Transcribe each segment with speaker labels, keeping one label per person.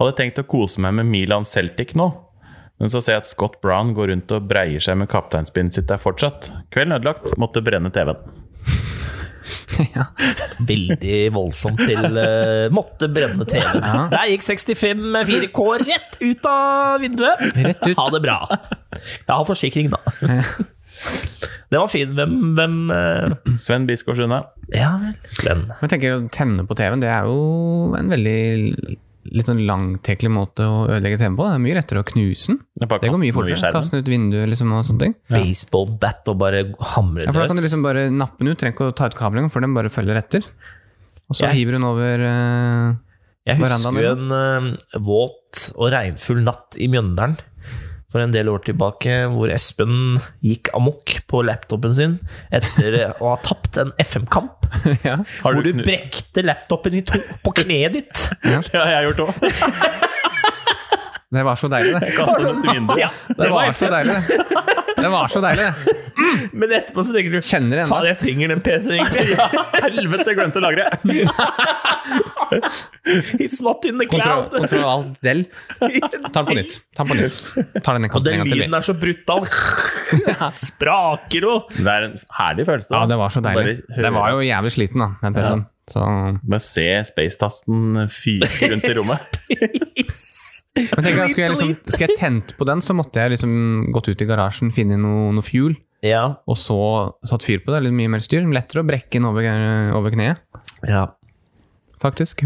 Speaker 1: Hadde tenkt å kose meg med Milan Celtic nå. Men så ser jeg at Scott Brown går rundt og breier seg med kapteinspinnet sitt der fortsatt. Kvelden ødelagt. Måtte brenne TV-en.
Speaker 2: ja.
Speaker 3: Veldig voldsomt til eh, Måtte brenne TV.
Speaker 2: Ja.
Speaker 3: Der gikk 65 med 4K eh, rett ut av vinduet.
Speaker 2: Rett ut.
Speaker 3: Ha det bra. Jeg har forsikring, da. Det var fin. Hvem, hvem eh,
Speaker 1: Sven Biskår Sunde.
Speaker 3: Ja vel. Sven.
Speaker 2: Men jeg tenker å tenne på TV-en, det er jo en veldig litt sånn langtekkelig måte å ødelegge TV-en på. Det er mye rettere å knuse den.
Speaker 1: Det er bare
Speaker 2: Det går
Speaker 1: kaste
Speaker 2: mye
Speaker 1: den over i
Speaker 2: fortere.
Speaker 1: skjermen.
Speaker 2: Kaste den ut vinduet liksom, og sånne ting.
Speaker 3: Baseball bat og bare hamre
Speaker 2: Ja, for da kan du
Speaker 3: løs.
Speaker 2: liksom bare nappe den ut, trenger ikke å ta ut kabelen, for den bare følger etter. Og så
Speaker 3: Jeg-
Speaker 2: hiver hun over eh,
Speaker 3: Jeg husker
Speaker 2: verandaen
Speaker 3: jo en eh, våt og regnfull natt i Mjøndalen for en del år tilbake, hvor Espen gikk amok på laptopen sin etter å ha tapt en FM-kamp.
Speaker 2: ja.
Speaker 1: Har
Speaker 3: Hvor du
Speaker 1: knu-
Speaker 3: brekte laptopen i to på kneet ditt.
Speaker 1: Det har jeg gjort òg.
Speaker 2: Det var så deilig, det.
Speaker 1: Kastet den ut vinduet.
Speaker 3: Ja,
Speaker 2: Det var så deilig, det. Det var så deilig, det.
Speaker 3: Men etterpå så tenker du
Speaker 2: Kjenner det
Speaker 3: Faen,
Speaker 2: ennå.
Speaker 3: jeg trenger den PC-en, egentlig.
Speaker 1: Helvete, jeg glemte å lagre!
Speaker 3: It's not in the
Speaker 2: Kontroll,
Speaker 3: cloud.
Speaker 2: kontroll alt del. Ta den på nytt. Ta den på nytt. Ta den en
Speaker 3: Og
Speaker 2: gang
Speaker 3: den
Speaker 2: til. vi.
Speaker 3: lyden er så brutal. Spraker og
Speaker 1: Det er en herlig følelse. da.
Speaker 2: Ja, det var så deilig.
Speaker 1: Bare høre-
Speaker 2: Den var jo jævlig sliten, da, den PC-en. Så
Speaker 1: Men se spacetasten fyke rundt i rommet.
Speaker 3: Yes.
Speaker 2: Men tenk, deg, skulle, jeg liksom, skulle jeg tent på den, så måtte jeg liksom gått ut i garasjen, finne noe, noe fuel,
Speaker 3: Ja,
Speaker 2: og så satt fyr på det. Litt mye mer styr. Lettere å brekke den over, over kneet,
Speaker 3: ja.
Speaker 2: faktisk.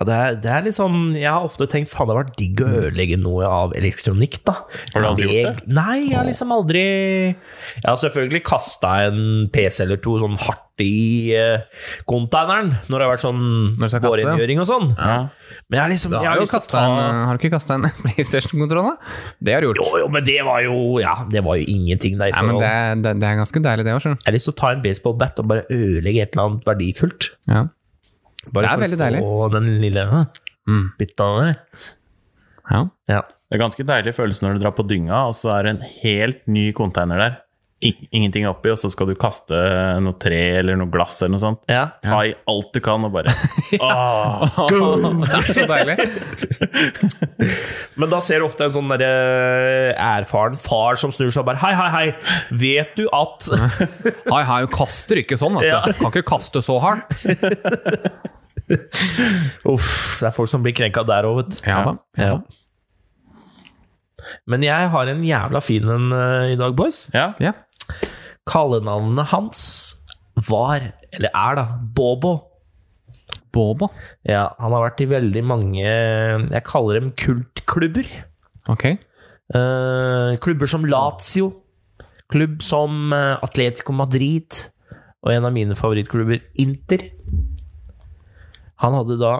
Speaker 3: Ja, det er, det er liksom, Jeg har ofte tenkt faen det har vært digg å ødelegge noe av elektronikk. da
Speaker 1: Har du aldri
Speaker 3: Jeg-
Speaker 1: gjort
Speaker 3: Nei, jeg har liksom aldri Jeg har selvfølgelig kasta en PC eller to sånn hardt i eh, containeren når det har vært
Speaker 2: Når
Speaker 3: sånn
Speaker 2: du skal kaste det, ja.
Speaker 3: vårrengjøring og sånn.
Speaker 1: Ja.
Speaker 3: Men jeg har liksom
Speaker 2: Du har,
Speaker 3: jeg har
Speaker 2: jo
Speaker 3: lyst til å
Speaker 2: kastet
Speaker 3: ta-
Speaker 2: en, eh, har du ikke kasta en PlayStation-kontroll, da? Det har du gjort.
Speaker 3: Jo, jo, men det var jo Ja, det var jo ingenting der. i
Speaker 2: Nei, men
Speaker 3: forhold.
Speaker 2: det, er- det, det er ganske deilig, det òg, skjønner du.
Speaker 3: Jeg har lyst til å ta en baseballbat og bare ødelegge et eller annet verdifullt.
Speaker 2: Ja.
Speaker 3: Bare
Speaker 2: Det er
Speaker 3: for å
Speaker 2: veldig deilig.
Speaker 3: få den lille øh,
Speaker 2: Mm.
Speaker 3: biten av det.
Speaker 2: Ja.
Speaker 3: Ja.
Speaker 1: Det er ganske deilig følelse når du drar på dynga, og så er det en helt ny container der. I- Ingenting oppi, og så skal du kaste noe tre eller noe glass eller noe sånt.
Speaker 3: ja.
Speaker 1: Ta i alt du kan, og bare Åh,
Speaker 2: det er så deilig.
Speaker 3: Men da ser du ofte en sånn der, eh, erfaren far som snur seg og bare Hei, hei, hei, vet du at
Speaker 2: Hei, hei, kaster ikke sånn, vet du.
Speaker 3: Ja.
Speaker 2: Kan ikke kaste så hardt.
Speaker 3: Uff, det er folk som blir krenka der òg, vet du.
Speaker 2: Ja da. Ja. da.
Speaker 3: Men jeg har en jævla fin en eh, i dag, boys.
Speaker 1: Ja.
Speaker 2: ja.
Speaker 3: Kallenavnet hans var, eller er da, Bobo.
Speaker 2: Bobo.
Speaker 3: Ja, han har vært i veldig mange Jeg kaller dem kultklubber.
Speaker 2: Ok.
Speaker 3: Eh, klubber som Lazio. Klubb som eh, Atletico Madrid. Og en av mine favorittklubber, Inter. Han hadde da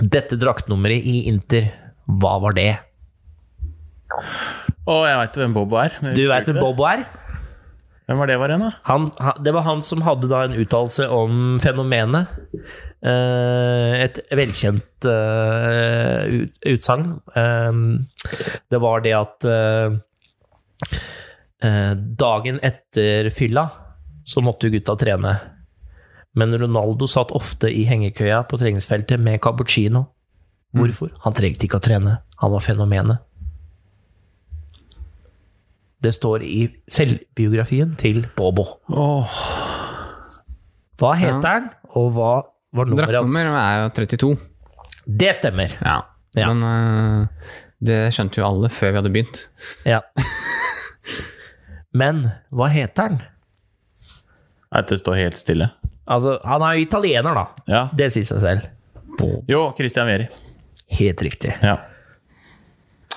Speaker 3: dette draktnummeret i Inter. Hva var det?
Speaker 1: Å, jeg veit hvem Bobo er. men jeg
Speaker 3: Du
Speaker 1: husker
Speaker 3: veit
Speaker 1: ikke
Speaker 3: hvem
Speaker 1: det.
Speaker 3: Bobo er?
Speaker 1: Hvem var det var igjen, da?
Speaker 3: Han, han, det var han som hadde da en uttalelse om fenomenet. Eh, et velkjent eh, ut, utsagn. Eh, det var det at eh, eh, Dagen etter fylla så måtte jo gutta trene. Men Ronaldo satt ofte i hengekøya på treningsfeltet med cappuccino. Hvorfor? Han trengte ikke å trene. Han var fenomenet. Det står i selvbiografien til Bobo.
Speaker 2: Åh,
Speaker 3: Hva heter han, og hva var nummeret
Speaker 2: Draktnummer
Speaker 3: hans?
Speaker 2: er jo 32.
Speaker 3: Det stemmer.
Speaker 2: Ja.
Speaker 3: Ja.
Speaker 2: Men eh, det skjønte jo alle før vi hadde begynt.
Speaker 3: Ja. Men hva heter han?
Speaker 1: Nei, det står helt stille.
Speaker 3: Altså, han er jo italiener, da.
Speaker 1: Ja.
Speaker 3: Det sier seg selv.
Speaker 1: Jo, Christian Vieri.
Speaker 3: Helt riktig.
Speaker 1: Ja.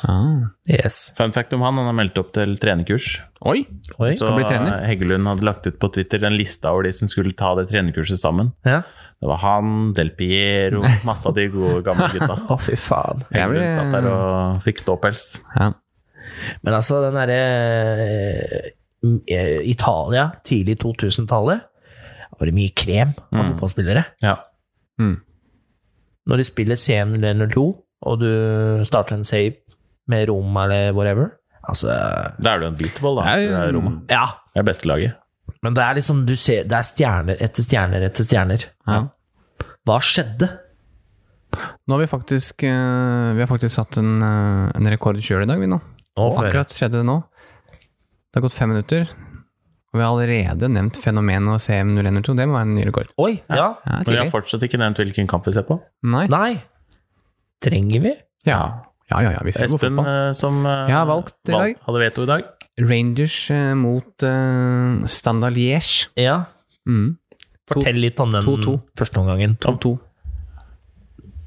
Speaker 2: Ah.
Speaker 3: Yes.
Speaker 1: Fun fact om han, han har meldt opp til trenerkurs.
Speaker 2: Oi!
Speaker 3: Oi.
Speaker 1: Så eh,
Speaker 2: Skal bli trener.
Speaker 1: Heggelund hadde lagt ut på Twitter en liste over de som skulle ta det trenerkurset sammen.
Speaker 3: Ja.
Speaker 1: Det var han, Del Piero, masse av de gode gamle gutta.
Speaker 3: Å, fy faen.
Speaker 2: Jeg
Speaker 1: Heggelund
Speaker 2: blir-
Speaker 1: satt der og fikk ståpels.
Speaker 2: Ja.
Speaker 3: Men altså, den derre eh, Italia, tidlig 2000-tallet, var det mye krem av fotballspillere.
Speaker 1: Ja.
Speaker 2: Mm.
Speaker 3: Når de spiller CM002, og du starter en save med Roma eller whatever Altså
Speaker 1: Da er du en beatball, da.
Speaker 2: Jeg-
Speaker 1: så det er Roma.
Speaker 3: Ja,
Speaker 1: Det er bestelaget.
Speaker 3: Men det er liksom, du ser, det er stjerner etter stjerner etter stjerner.
Speaker 2: Ja.
Speaker 3: Hva skjedde?
Speaker 2: Nå har vi faktisk, eh, vi har faktisk satt en, eh, en rekord sjøl i dag, vi nå.
Speaker 3: Nå får jeg-
Speaker 2: Akkurat skjedde det nå. Det har gått fem minutter, og vi har allerede nevnt fenomenet og CM0102. Det må være en ny rekord.
Speaker 3: Oi, ja.
Speaker 2: Ja,
Speaker 1: Men vi
Speaker 2: tidlig.
Speaker 1: har fortsatt ikke nevnt hvilken kamp vi ser på.
Speaker 2: Nei.
Speaker 3: Nei. Trenger vi?
Speaker 2: Ja, ja, ja. ja vi ser på
Speaker 1: Espen,
Speaker 2: fotball.
Speaker 1: eh, som eh,
Speaker 2: Jeg har valgt i
Speaker 1: valg-
Speaker 2: dag.
Speaker 1: hadde veto i dag.
Speaker 2: Rangers eh, mot eh, Standard Liège.
Speaker 3: Ja.
Speaker 2: Mm.
Speaker 3: Fortell litt om den
Speaker 2: 2-2.
Speaker 3: første omgangen.
Speaker 2: 2-2.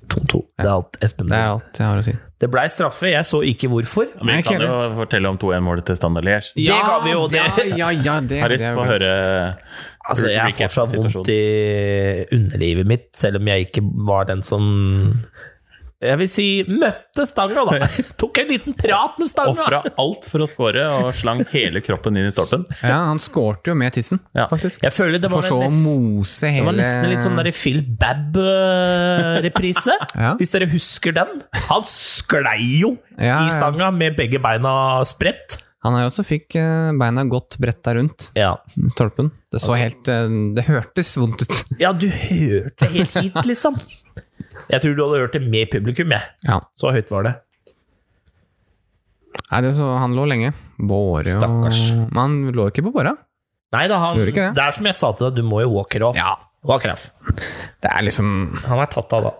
Speaker 3: 2-2. Det er alt Espen
Speaker 2: Det er
Speaker 3: gjør.
Speaker 2: alt jeg har å si.
Speaker 3: Det blei straffe, jeg så ikke hvorfor.
Speaker 2: Nei,
Speaker 1: Vi
Speaker 2: ikke
Speaker 1: kan jo fortelle om 2-1-målet til Standard Liège.
Speaker 3: Det kan vi jo, det-
Speaker 2: Ja, ja, ja, det,
Speaker 1: Har lyst
Speaker 2: det er
Speaker 1: til å
Speaker 2: jo
Speaker 1: høre eh,
Speaker 3: Altså, jeg har
Speaker 1: recap
Speaker 3: fortsatt vondt i underlivet mitt, selv om jeg ikke var den som Jeg vil si møtte stanga, da. Tok en liten prat med stanga.
Speaker 1: Ofra alt for å score og slang hele kroppen inn i stolpen.
Speaker 2: Ja, han skårte jo med tissen,
Speaker 1: Ja.
Speaker 2: faktisk.
Speaker 3: Jeg føler det
Speaker 2: For
Speaker 3: var,
Speaker 2: så å
Speaker 3: en nes-
Speaker 2: mose
Speaker 3: det
Speaker 2: hele
Speaker 3: var nesten litt sånn der Phil Babb-reprise.
Speaker 2: Ja.
Speaker 3: Hvis dere husker den. Han sklei jo
Speaker 2: Ja, ja.
Speaker 3: i stanga med begge beina spredt.
Speaker 2: Han her også fikk eh, beina godt bretta rundt
Speaker 3: Ja.
Speaker 2: stolpen. Det
Speaker 3: Altså-
Speaker 2: så helt eh, Det hørtes vondt ut.
Speaker 3: ja, du hørte helt hit, liksom. Jeg tror du hadde hørt det med publikum, jeg.
Speaker 2: Ja.
Speaker 3: Så høyt var det.
Speaker 2: Nei, det så, han lå lenge. Båre og
Speaker 3: Stakkars.
Speaker 2: Men han lå ikke på båra.
Speaker 3: Nei da, han,
Speaker 2: Gjorde
Speaker 3: det
Speaker 2: ikke det?
Speaker 3: er som jeg sa til deg, du må jo walk it off. Walk it off.
Speaker 2: Det er liksom Har
Speaker 3: Han er tatt av, da.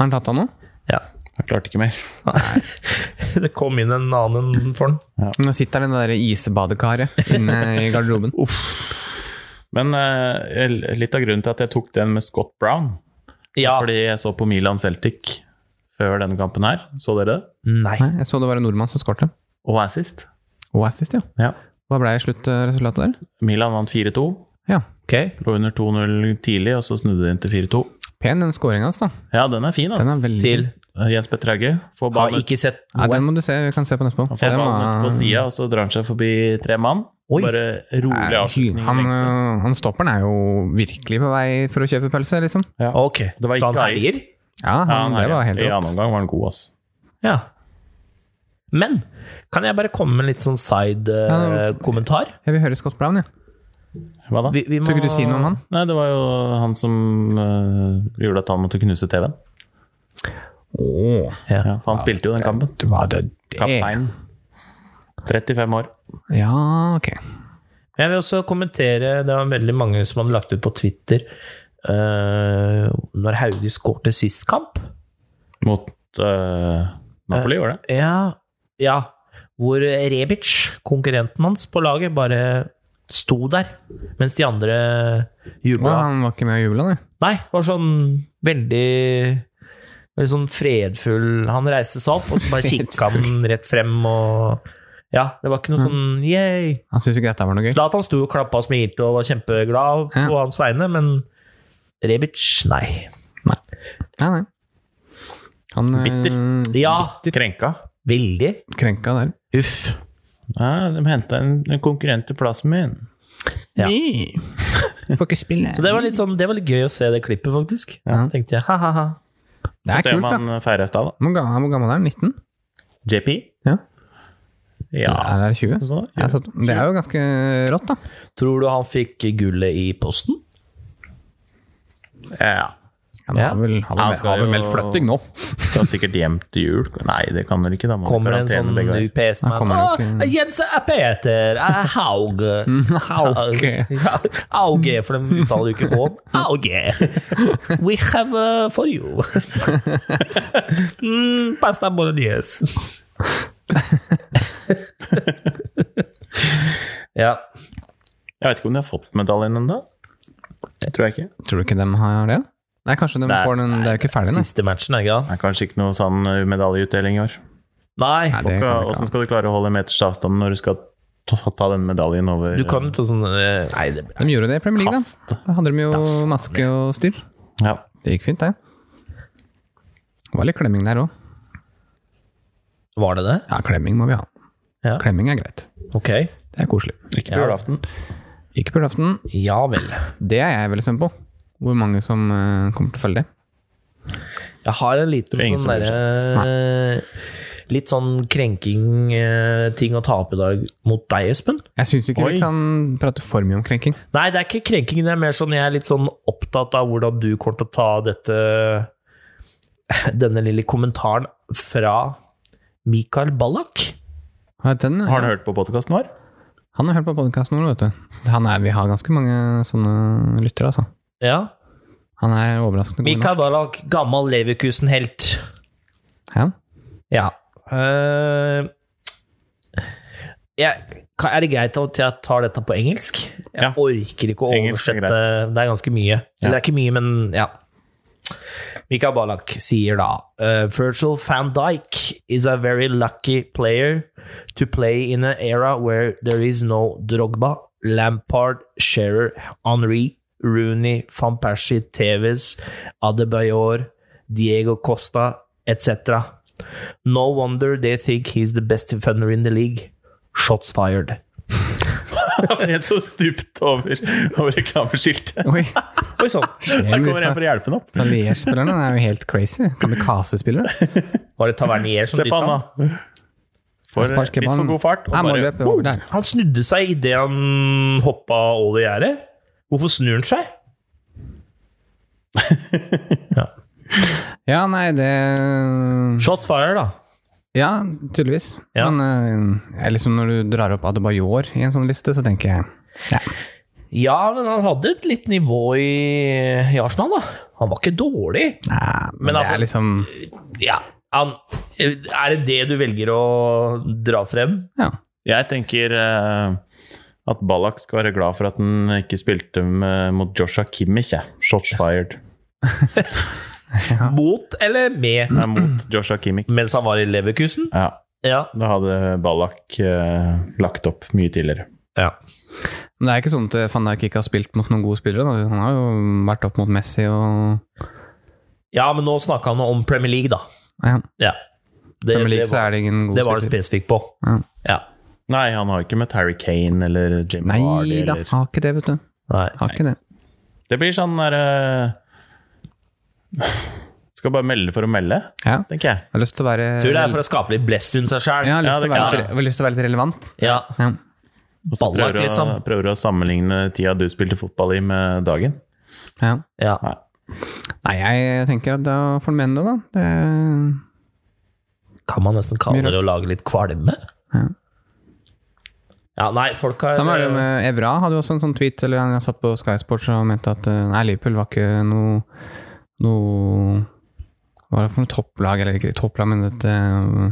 Speaker 2: han tatt av noe?
Speaker 3: Ja.
Speaker 1: Jeg klarte ikke mer.
Speaker 3: det kom inn en annen for han.
Speaker 2: Nå sitter det der isbadekaret inne i garderoben.
Speaker 1: Men eh, litt av grunnen til at jeg tok den med Scott Brown,
Speaker 3: Ja.
Speaker 1: fordi jeg så på Milan Celtic før denne kampen her. Så dere det?
Speaker 3: Nei.
Speaker 2: Nei, jeg så det var en nordmann som skårte.
Speaker 1: Og assist.
Speaker 2: Og assist, ja.
Speaker 1: Ja.
Speaker 2: Hva blei sluttresultatet der?
Speaker 1: Milan vant 4-2.
Speaker 2: Ja.
Speaker 3: Ok.
Speaker 1: Lå under 2-0 tidlig, og så snudde de inn til 4-2.
Speaker 2: Pen den scoringa hans, da.
Speaker 1: Ja, den er fin, ass.
Speaker 2: Den er veldig
Speaker 3: Til
Speaker 1: Eh, Jens Petter Hauge får
Speaker 3: har
Speaker 1: ballen ut,
Speaker 3: ikke sett
Speaker 2: Nei,
Speaker 3: noe.
Speaker 2: den må du se. Vi kan se på den etterpå.
Speaker 1: får
Speaker 2: Den
Speaker 1: ballen
Speaker 2: var-
Speaker 1: ut på sida, og så drar han seg forbi tre mann.
Speaker 3: Oi.
Speaker 1: Bare rolig
Speaker 2: Nei,
Speaker 1: avslutning.
Speaker 2: Han,
Speaker 1: lengst ut.
Speaker 2: øh, han stopperen er jo virkelig på vei for å kjøpe pølse, liksom.
Speaker 1: Ja.
Speaker 3: Ok.
Speaker 1: Det var
Speaker 3: Så han
Speaker 1: ikke ei.
Speaker 3: herjer?
Speaker 2: Ja,
Speaker 1: Ja,
Speaker 2: han,
Speaker 1: han
Speaker 2: det
Speaker 1: herjer.
Speaker 2: var helt
Speaker 1: I annen
Speaker 2: rått.
Speaker 1: omgang var han god, ass.
Speaker 3: Ja. Men kan jeg bare komme med en litt sånn eh,
Speaker 2: Ja,
Speaker 3: side-kommentar?
Speaker 2: Jeg vil høre Scott Brown, jeg. Ja.
Speaker 1: Hva da?
Speaker 2: Tror ikke du sier noe om han?
Speaker 1: Nei, det var jo han som eh, gjorde at han måtte knuse TV-en.
Speaker 2: Åh,
Speaker 1: Ja, for han spilte jo den kampen.
Speaker 2: det var det.
Speaker 1: Kaptein. 35 år.
Speaker 2: Ja, ok.
Speaker 3: Jeg vil også kommentere Det var veldig mange som hadde lagt ut på Twitter eh, når Hauge skårte sist kamp.
Speaker 1: Mot eh, Napoli, gjorde det?
Speaker 3: Ja, ja. Hvor Rebic, konkurrenten hans på laget, bare sto der, mens de andre
Speaker 2: Åh,
Speaker 3: jubla.
Speaker 2: han var ikke med og jubla, nei.
Speaker 3: Nei, var sånn veldig Veldig sånn fredfull Han reiste seg opp, og så bare kikka han rett frem og Ja, det var ikke noe sånn yeah.
Speaker 2: Han syntes ikke dette var noe gøy.
Speaker 3: Zlatan sto og klappa og smilte og var kjempeglad på
Speaker 2: Ja.
Speaker 3: hans vegne, men Rebic, nei.
Speaker 2: Nei, nei. Han øh,
Speaker 1: Bitter.
Speaker 3: Ja,
Speaker 1: Krenka.
Speaker 3: veldig.
Speaker 2: krenka der.
Speaker 3: Uff.
Speaker 1: Ja, de henta en, en konkurrent til plassen min.
Speaker 3: Ja.
Speaker 2: Nei. Får ikke spille.
Speaker 3: Så det var litt sånn Det var litt gøy å se det klippet, faktisk.
Speaker 2: Ja.
Speaker 3: Tenkte jeg, ha-ha-ha.
Speaker 2: Det er
Speaker 1: Se om
Speaker 2: kult, da.
Speaker 1: han feira i stad, eh, da.
Speaker 2: Hvor gammel, hvor gammel er han? 19?
Speaker 1: JP?
Speaker 2: Ja.
Speaker 1: Ja.
Speaker 2: Eller er det 20?
Speaker 1: Sånn,
Speaker 2: Ja,
Speaker 1: ja.
Speaker 2: så, det er jo ganske rått, da.
Speaker 3: Tror du han fikk gullet i posten?
Speaker 1: ja.
Speaker 2: Han
Speaker 3: Ja.
Speaker 2: har vel, har vel,
Speaker 1: Han skal
Speaker 2: har vel
Speaker 1: jo-
Speaker 2: meldt flytting nå.
Speaker 1: Skal sikkert hjem til jul. Nei, det kan vel ikke. da må det
Speaker 3: Kommer det en
Speaker 1: karantene
Speaker 3: sånn
Speaker 1: begge veier.
Speaker 2: Da
Speaker 3: UPS-mann
Speaker 2: kommer det nok,
Speaker 3: Å, Jens er Peter! Er eh, Haug.
Speaker 2: Hauge.
Speaker 3: Ja, Auge, for de uttaler jo ikke H. Auge! We have uh, for you. mm, pasta bolognese. ja.
Speaker 1: Jeg vet ikke om de har fått medaljen ennå. Det tror jeg ikke.
Speaker 2: Tror du ikke de har det? Nei, kanskje de
Speaker 1: Nei,
Speaker 2: får den Det er jo ikke ferdig, nei.
Speaker 3: Siste matchen, er det ikke
Speaker 1: Det er kanskje ikke noe sånn eh, medaljeutdeling i år.
Speaker 2: Nei,
Speaker 3: Nei.
Speaker 2: det kan vi ikke
Speaker 1: Åssen
Speaker 2: ha.
Speaker 1: skal du klare å holde en meters avstand når du skal ta, ta den medaljen over
Speaker 3: Du kan ta sånn eh, Nei, det
Speaker 2: De gjorde det i Premier League, da.
Speaker 1: kast?
Speaker 2: Da hadde de jo maske og styr.
Speaker 1: Ja.
Speaker 2: Det gikk fint, det. Det var litt klemming der òg.
Speaker 3: Var det det?
Speaker 2: Ja, klemming må vi ha.
Speaker 3: Ja.
Speaker 2: Klemming er greit.
Speaker 3: Ok.
Speaker 2: Det er koselig.
Speaker 1: Ikke på julaften.
Speaker 2: Ikke på julaften.
Speaker 3: Ja vel.
Speaker 2: Det er jeg veldig spent på. Hvor mange som eh, kommer til å følge det.
Speaker 3: Jeg har en liten
Speaker 1: Det er ingen
Speaker 3: sånn
Speaker 1: som bryr
Speaker 3: derre Litt sånn krenking-ting å ta opp i dag mot deg, Espen.
Speaker 2: Jeg syns ikke
Speaker 1: Oi.
Speaker 2: vi kan prate for mye om krenking.
Speaker 3: Nei, det er ikke krenking, det er mer sånn jeg er litt sånn opptatt av hvordan du kommer til å ta dette denne lille kommentaren fra Mikael Ballak.
Speaker 2: Har jeg den, ja.
Speaker 1: Har han hørt på podkasten vår?
Speaker 2: Han har hørt på podkasten vår, vet du. Han er, vi har ganske mange sånne lyttere, altså.
Speaker 3: Ja.
Speaker 2: Han er overraskende god. i norsk.
Speaker 3: Mikael Ballak, gammel Leverkusen-helt.
Speaker 2: Ja.
Speaker 3: Ja. Eh, jeg, ka- er det greit at jeg tar dette på engelsk? Jeg
Speaker 1: Ja.
Speaker 3: orker ikke å
Speaker 1: Engelsk er
Speaker 3: oversette. Det er ganske mye. Eller det er ikke mye, men ja. Mikael Ballack sier da eh, Virgil van Dijk is a very lucky player to play in an era where there is no Drogba, Lampard, Scherer, Henri, Rooney, Van Persie, Tevez, Adebayor, Diego Costa etc. No wonder they think he's the best defender in the league. Shots fired.
Speaker 1: Det var en som stupte over, over reklameskiltet.
Speaker 2: Oi.
Speaker 3: Oi sånn. sann!
Speaker 1: Her kommer en for å hjelpe ham opp.
Speaker 2: Så Liège-spillerne Sånn er jo helt crazy. Kamikaze-spillere.
Speaker 3: Var det Tavernier som
Speaker 1: Se på
Speaker 3: dytta
Speaker 1: han,
Speaker 3: han?
Speaker 1: da. Får litt
Speaker 2: Sparker
Speaker 1: for
Speaker 2: ballen.
Speaker 1: god fart. Og
Speaker 2: Nei,
Speaker 1: bare,
Speaker 2: målløp over der.
Speaker 3: Han snudde seg idet han hoppa over gjerdet. Hvorfor snur han seg?
Speaker 2: Ja, nei, det
Speaker 3: Shots fired, da.
Speaker 2: Ja, tydeligvis.
Speaker 3: Ja.
Speaker 2: Men eh, jeg liksom når du drar opp Adebayor i en sånn liste, så tenker jeg ja.
Speaker 3: Ja, men han hadde et litt nivå i, i Arsenal, da. Han var ikke dårlig.
Speaker 2: Nei, men,
Speaker 3: Men
Speaker 2: det
Speaker 3: altså-
Speaker 2: er liksom
Speaker 3: Ja, han Er det det du velger å dra frem?
Speaker 2: Ja.
Speaker 1: jeg tenker eh, at Ballak skal være glad for at han ikke spilte med, mot Joshua Kimmich. jeg. Shots fired.
Speaker 3: Mot eller med?
Speaker 1: Nei, mot Joshua Kimmich.
Speaker 3: Mens han var i Leverkusen?
Speaker 1: Ja,
Speaker 3: Ja.
Speaker 1: da hadde Ballak eh, lagt opp mye tidligere.
Speaker 3: ja.
Speaker 2: Men det er ikke sånn at van Dijk ikke har spilt mot noen gode spillere. Da. Han har jo vært opp mot Messi og
Speaker 3: Ja, men nå snakka han om Premier League, da.
Speaker 2: ja.
Speaker 3: Ja. Det,
Speaker 2: Premier League
Speaker 3: det,
Speaker 2: så
Speaker 3: var,
Speaker 2: er det ingen
Speaker 3: det
Speaker 2: gode
Speaker 3: var det
Speaker 2: spillere.
Speaker 3: spesifikt på.
Speaker 2: Ja.
Speaker 3: Ja.
Speaker 1: Nei, han har ikke møtt Harry Kane eller Jim
Speaker 2: Nei
Speaker 1: Hardy.
Speaker 2: da,
Speaker 1: Eller.
Speaker 2: har ikke det, vet du.
Speaker 3: Nei.
Speaker 2: Har ikke det.
Speaker 1: Det blir sånn der eh, Skal bare melde for å melde,
Speaker 2: Ja. Jeg
Speaker 1: tenker jeg.
Speaker 2: har lyst til å være
Speaker 3: Tror det er for å skape litt blest rundt seg sjæl.
Speaker 2: Jeg har lyst,
Speaker 1: Ja,
Speaker 2: til å
Speaker 1: det
Speaker 2: være
Speaker 1: kan
Speaker 2: litt, jeg har lyst til å være litt relevant.
Speaker 3: Ja.
Speaker 2: Ja.
Speaker 1: Og så
Speaker 3: Ballak,
Speaker 1: prøver, å-
Speaker 3: liksom.
Speaker 1: prøver å sammenligne tida du spilte fotball i, med dagen.
Speaker 2: Ja.
Speaker 3: Ja.
Speaker 1: Nei.
Speaker 2: Nei, jeg tenker at da får du mene det, da. Det
Speaker 3: Kan man nesten kalle det å lage litt kvalme?
Speaker 2: Ja.
Speaker 3: Ja, nei, folk har
Speaker 2: Samme er Sånn det med Evra. Hadde jo også en sånn tweet eller han satt på Sky Sports og mente at eh, nei, Liverpool var ikke noe noe Hva var det for noe topplag, eller ikke topplag, men et eh,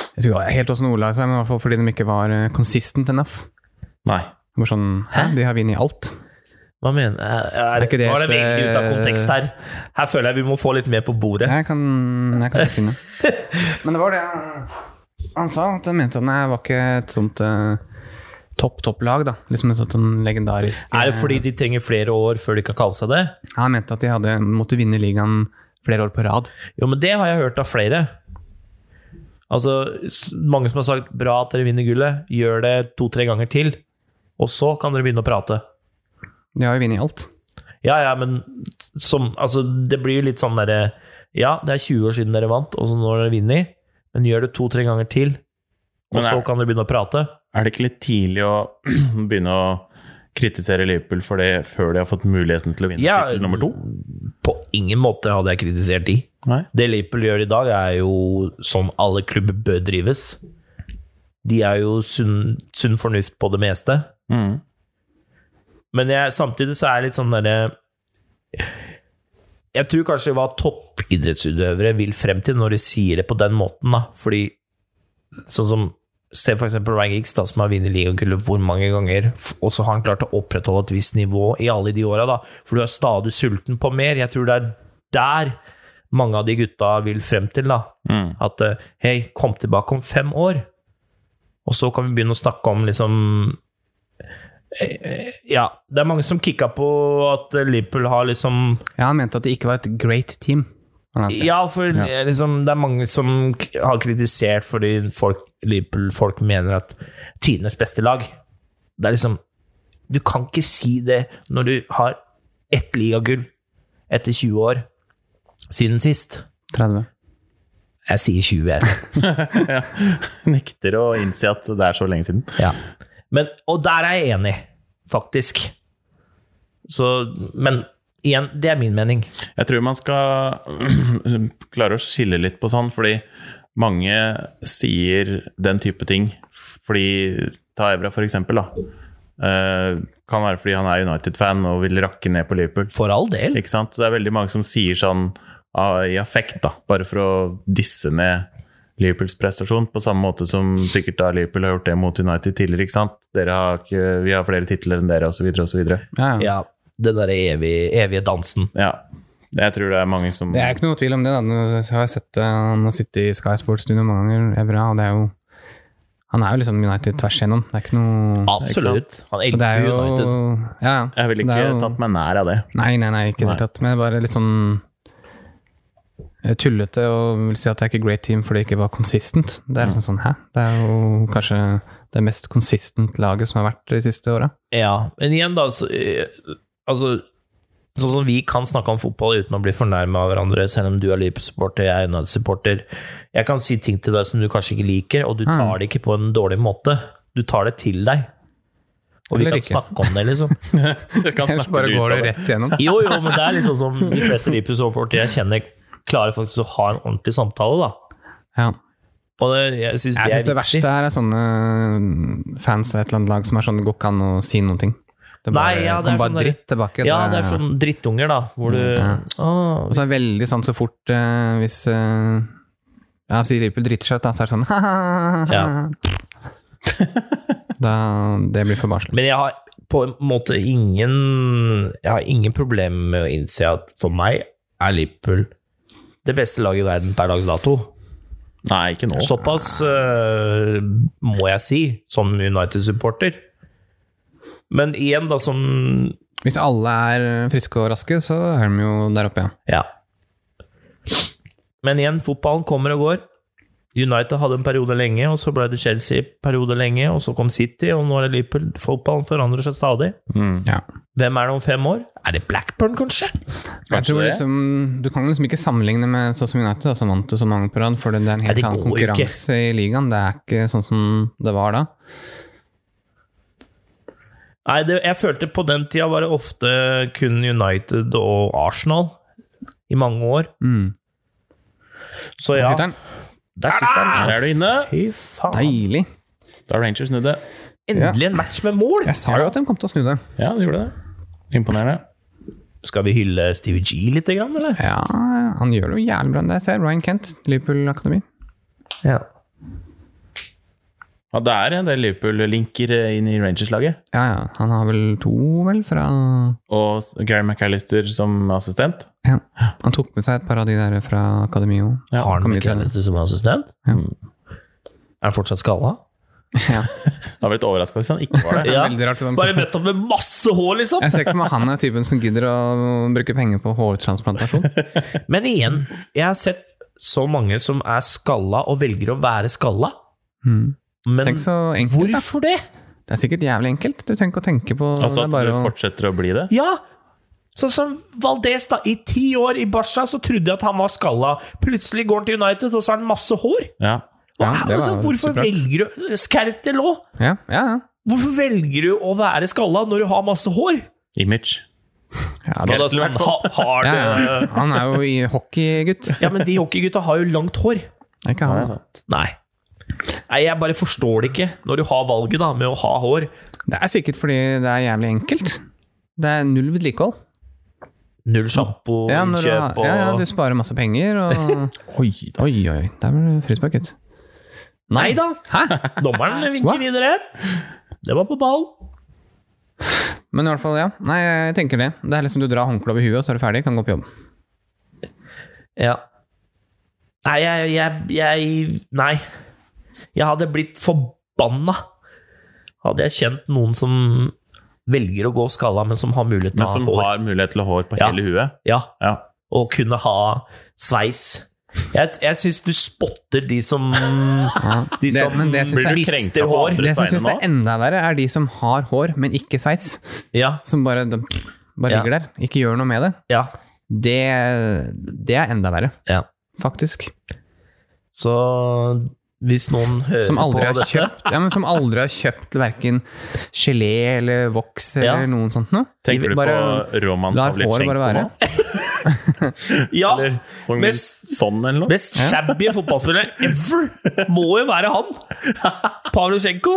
Speaker 2: Jeg husker ikke helt åssen ordlag sa, men i hvert fall fordi de ikke var eh, consistent enough.
Speaker 1: Nei.
Speaker 2: Det var sånn Hæ? De har vunnet alt.
Speaker 3: Hva mener er,
Speaker 2: Er ikke det
Speaker 3: Var det
Speaker 2: et, eh,
Speaker 3: veldig ut av kontekst her? Her føler jeg vi må få litt mer på bordet.
Speaker 2: Jeg kan, jeg kan ikke finne Men det var det han sa. At han mente at nei, det var ikke et sånt eh, topp, topp lag, da. Liksom et sånt sånn legendarisk
Speaker 3: Er det fordi de trenger flere år før de kan kalle seg det?
Speaker 2: Han mente at de hadde måtte vinne ligaen flere år på rad.
Speaker 3: Jo, men det har jeg hørt av flere. Altså, s- mange som har sagt 'bra at dere vinner gullet', gjør det to-tre ganger til, og så kan dere begynne å prate.
Speaker 2: De har jo vunnet alt.
Speaker 3: Ja, ja, men som Altså, det blir jo litt sånn derre Ja, det er 20 år siden dere vant, og så nå har dere vunnet, men gjør det to-tre ganger til, og
Speaker 1: Men er-
Speaker 3: så kan dere begynne å prate.
Speaker 1: Er det ikke litt tidlig å begynne å kritisere Liverpool for det før de har fått muligheten til å vinne
Speaker 3: Ja,
Speaker 1: tittel nummer to?
Speaker 3: På ingen måte hadde jeg kritisert de.
Speaker 1: Nei.
Speaker 3: Det Liverpool gjør i dag, er jo sånn alle klubber bør drives. De er jo sunn, sunn fornuft på det meste.
Speaker 1: Mm.
Speaker 3: Men jeg, samtidig så er jeg litt sånn derre Jeg tror kanskje hva toppidrettsutøvere vil frem til når de sier det på den måten, da. Fordi sånn som Se for eksempel Ryan Giggs, da, som har vunnet ligakullet hvor mange ganger, f- og så har han klart å opprettholde et visst nivå i alle de åra, da. For du er stadig sulten på mer. Jeg tror det er der mange av de gutta vil frem til, da.
Speaker 1: Mm.
Speaker 3: At eh, hei, kom tilbake om fem år. Og så kan vi begynne å snakke om liksom eh, eh, Ja, det er mange som kicka på at Liverpool har liksom
Speaker 2: Ja, han mente at det ikke var et great team. var det han sa.
Speaker 3: Ja, for eh, liksom, det er mange som k- har kritisert fordi folk, Liverpool-folk mener at tidenes beste lag Det er liksom Du kan ikke si det når du har ett ligagull etter 20 år siden sist.
Speaker 2: 30.
Speaker 3: Jeg sier 20, jeg.
Speaker 1: Nekter å innse at det er så lenge siden.
Speaker 3: Ja. Men, og der er jeg enig, faktisk. Så, men Igjen, det er min mening.
Speaker 1: Jeg tror man skal klare å skille litt på sånn, fordi mange sier den type ting fordi Ta Evra, for eksempel, da. Eh, kan være fordi han er United-fan og vil rakke ned på Liverpool.
Speaker 3: For all del.
Speaker 1: Ikke sant? Det er veldig mange som sier sånn ah, i affekt, da, bare for å disse ned Liverpools prestasjon, på samme måte som sikkert da Liverpool har gjort det mot United tidligere. ikke sant? Dere har ikke, vi har flere titler enn dere, osv., osv.
Speaker 2: Ja, ja.
Speaker 3: Ja, den derre evig, evige dansen.
Speaker 1: Ja. Jeg tror det er mange som
Speaker 2: Det er ikke noe tvil om det. da. Nå har jeg sett eh, Han har sittet i Sky Sports Studio mange ganger, Evra, og det er jo Han er jo liksom United tvers igjennom. Det er ikke noe
Speaker 3: Absolutt.
Speaker 2: Så
Speaker 3: Han
Speaker 2: det er
Speaker 3: elsker
Speaker 2: jo
Speaker 3: United.
Speaker 2: Ja, ja.
Speaker 1: Jeg ville
Speaker 2: Så det
Speaker 1: ikke
Speaker 2: er jo-
Speaker 1: tatt meg nær av det.
Speaker 2: Nei, nei, nei, ikke i det
Speaker 1: Nei.
Speaker 2: hele tatt. Men bare litt sånn eh, tullete og vil si at det er ikke great team fordi det ikke var consistent. Det er liksom sånn, hæ? Det er jo kanskje det mest consistent laget som har vært de siste åra.
Speaker 3: Ja, men igjen da så, eh, Altså Sånn som vi kan snakke om fotball uten å bli fornærma av hverandre, selv om du er Liverpool-supporter, jeg er United-supporter. Jeg kan si ting til deg som du kanskje ikke liker, og du
Speaker 2: Mm.
Speaker 3: tar det ikke på en dårlig måte. Du tar det til deg. Og vi
Speaker 2: Eller
Speaker 3: kan
Speaker 2: ikke.
Speaker 3: snakke om det, liksom.
Speaker 1: Jeg kan
Speaker 2: Ellers
Speaker 1: snakke
Speaker 2: bare
Speaker 1: det ut
Speaker 2: går
Speaker 1: av
Speaker 2: det
Speaker 1: det.
Speaker 2: rett igjennom.
Speaker 3: Jo, jo, men det er litt sånn som de fleste Liverpool-supportere jeg kjenner, klarer faktisk å ha en ordentlig samtale, da.
Speaker 2: Ja.
Speaker 3: Og det, jeg syns det,
Speaker 2: Jeg syns det
Speaker 3: er
Speaker 2: verste
Speaker 3: viktig.
Speaker 2: her er sånne eh, fans av et eller annet lag som er sånn det går ikke an å si noen ting. Det bare,
Speaker 3: Nei, ja, det er
Speaker 2: kommer bare
Speaker 3: sånn der-
Speaker 2: dritt tilbake.
Speaker 3: Ja, det er sånn drittunger, da, hvor du Ah.
Speaker 2: Ja.
Speaker 3: Åh,
Speaker 2: Og så er det veldig sånn så fort eh, hvis eh, Ja, sier Liverpool driter seg ut, da, så er det sånn
Speaker 3: Ja.
Speaker 2: Da, Det blir for barnslig.
Speaker 3: Men jeg har på en måte ingen Jeg har ingen problemer med å innse at for meg er Liverpool det beste laget i verden per dags dato.
Speaker 1: Nei, ikke nå.
Speaker 3: Såpass øh, må jeg si, som United-supporter. Men igjen, da, som
Speaker 2: Hvis alle er friske og raske, så er de jo der oppe, ja.
Speaker 3: Ja. Men igjen, fotballen kommer og går. United hadde en periode lenge, og så ble det Chelsea en periode lenge, og så kom City, og nå er det Liverpool. Fotballen forandrer seg stadig.
Speaker 1: Mm.
Speaker 2: ja.
Speaker 3: Hvem er det om fem år? Er det Blackburn, kanskje?
Speaker 2: Jeg tror
Speaker 1: det?
Speaker 2: liksom, Du kan liksom ikke sammenligne med sånn som United, da, som vant det så mange på rad, for det er en
Speaker 3: Nei, det
Speaker 2: helt annen
Speaker 3: går jo ikke.
Speaker 2: konkurranse i ligaen. Det er ikke sånn som det var da.
Speaker 3: Nei, det, jeg følte på den tida var det ofte kun United og Arsenal i mange år.
Speaker 2: Mm.
Speaker 3: Så ja,
Speaker 2: Lytteren,
Speaker 3: der sitter
Speaker 1: Der
Speaker 3: han.
Speaker 1: er du inne.
Speaker 3: Fy faen.
Speaker 2: Deilig!
Speaker 1: Da har Rangers snudd det.
Speaker 3: Endelig en match med mål!
Speaker 2: Jeg sa jo at de kom til å snu det.
Speaker 1: Ja, de gjorde det. Imponerende.
Speaker 3: Skal vi hylle Stevie G litt, grann, eller?
Speaker 2: Ja, han gjør det jo jævlig bra. Det ser jeg. Ryan Kent, Liverpool Akademi.
Speaker 3: Ja.
Speaker 1: Ja, det er en del Liverpool-linker eh, inn i Rangers-laget.
Speaker 2: Ja, ja. Han har vel to, vel, fra
Speaker 1: Og s- Gary McAllister som assistent.
Speaker 2: ja. Han tok med seg et par av de der fra akademiet òg.
Speaker 1: Ja,
Speaker 3: Har han
Speaker 2: kan vi
Speaker 3: McAllister som assistent?
Speaker 2: Ja.
Speaker 3: Er han fortsatt skalla?
Speaker 2: Ja.
Speaker 1: Jeg hadde blitt overraska hvis han ikke var det.
Speaker 3: Ja.
Speaker 2: Veldig rart. hvordan-
Speaker 3: Bare møtt opp med masse hår, liksom!
Speaker 2: Jeg ser ikke for meg han er typen som gidder å bruke penger på hårtransplantasjon.
Speaker 3: Men igjen, jeg har sett så mange som er skalla og velger å være skalla.
Speaker 2: Mm.
Speaker 3: Men
Speaker 2: Tenk så enkelt, da.
Speaker 3: hvorfor det?
Speaker 2: Det er sikkert jævlig enkelt. Du trenger ikke å tenke på
Speaker 1: Altså
Speaker 2: det. Er
Speaker 1: at
Speaker 2: bare
Speaker 1: du
Speaker 2: å
Speaker 1: fortsetter å bli det.
Speaker 3: Ja! Sånn som Valdez, da. I ti år i Barca så trodde jeg at han var skalla. Plutselig går han til United, og så har han masse hår.
Speaker 1: Ja.
Speaker 3: Og
Speaker 2: Ja, det
Speaker 3: altså,
Speaker 2: var
Speaker 3: hvorfor
Speaker 2: superrart.
Speaker 3: velger du Skerp til òg!
Speaker 2: Ja, ja, ja.
Speaker 3: Hvorfor velger du å være skalla når du har masse hår?
Speaker 1: Image.
Speaker 2: ja,
Speaker 1: Skal jeg-
Speaker 2: det,
Speaker 3: Altså,
Speaker 1: Skertel, i hvert
Speaker 3: ha, har
Speaker 2: ja,
Speaker 3: du
Speaker 2: ja. Han er jo i hockeygutt. Det
Speaker 3: Ja, men de hockeygutta har jo langt hår.
Speaker 2: er Ikke han. da.
Speaker 3: Nei. Nei, jeg bare forstår det ikke, når du har valget da, med å ha hår.
Speaker 2: Det er sikkert fordi det er jævlig enkelt. Det er null vedlikehold.
Speaker 3: Null sjampo,
Speaker 2: Ja, når du,
Speaker 3: innkjøp
Speaker 2: har-
Speaker 3: og
Speaker 2: ja, ja, du sparer masse penger og
Speaker 1: Oi, da.
Speaker 2: Oi, oi, oi. Der ble det frispark, gitt.
Speaker 3: Nei da!
Speaker 2: Hæ?
Speaker 3: Dommeren
Speaker 2: Hva?
Speaker 3: vinker videre. Det var på ball.
Speaker 2: Men i hvert fall, ja. Nei, jeg tenker det. Det er liksom du drar håndkleet over huet, og så er du ferdig, kan gå på jobb.
Speaker 3: Ja. Nei, jeg, jeg, jeg Nei. Jeg hadde blitt forbanna hadde jeg kjent noen som velger å gå skalla, men som har mulighet til
Speaker 1: Men
Speaker 3: å
Speaker 1: som
Speaker 3: ha hår.
Speaker 1: har mulighet til å ha hår på
Speaker 3: Ja.
Speaker 1: hele huet.
Speaker 3: Ja,
Speaker 1: Ja.
Speaker 3: og kunne ha sveis. Jeg, jeg syns du spotter de som De
Speaker 2: Ja. Det,
Speaker 3: som
Speaker 2: men det syns jeg,
Speaker 1: krenka
Speaker 3: mister
Speaker 1: på
Speaker 3: hår.
Speaker 1: andre?
Speaker 2: det som jeg synes
Speaker 1: Steiner nå?
Speaker 2: det er enda verre, er de som har hår, men ikke sveis.
Speaker 3: Ja,
Speaker 2: Som bare, de, bare
Speaker 3: Ja.
Speaker 2: ligger der, ikke gjør noe med det.
Speaker 3: ja,
Speaker 2: Det, det er enda verre,
Speaker 3: ja.
Speaker 2: faktisk.
Speaker 3: Så Hvis noen
Speaker 1: Eh,
Speaker 3: hører
Speaker 2: Som aldri
Speaker 3: på
Speaker 2: har
Speaker 3: dette.
Speaker 2: kjøpt, ja, men som aldri har kjøpt verken gelé eller voks
Speaker 3: Ja.
Speaker 2: eller noe sånt noe.
Speaker 1: Tenker du
Speaker 2: Bare
Speaker 1: på Roman
Speaker 2: lar håret
Speaker 1: Pavlitsjenko
Speaker 2: bare
Speaker 1: nå?
Speaker 2: være.
Speaker 3: Ja,
Speaker 1: Eller Hong Min
Speaker 3: Mest-
Speaker 1: Son sånn eller noe?
Speaker 3: Mest shabby fotballspiller ever må jo være han! Pavlyutsjenko.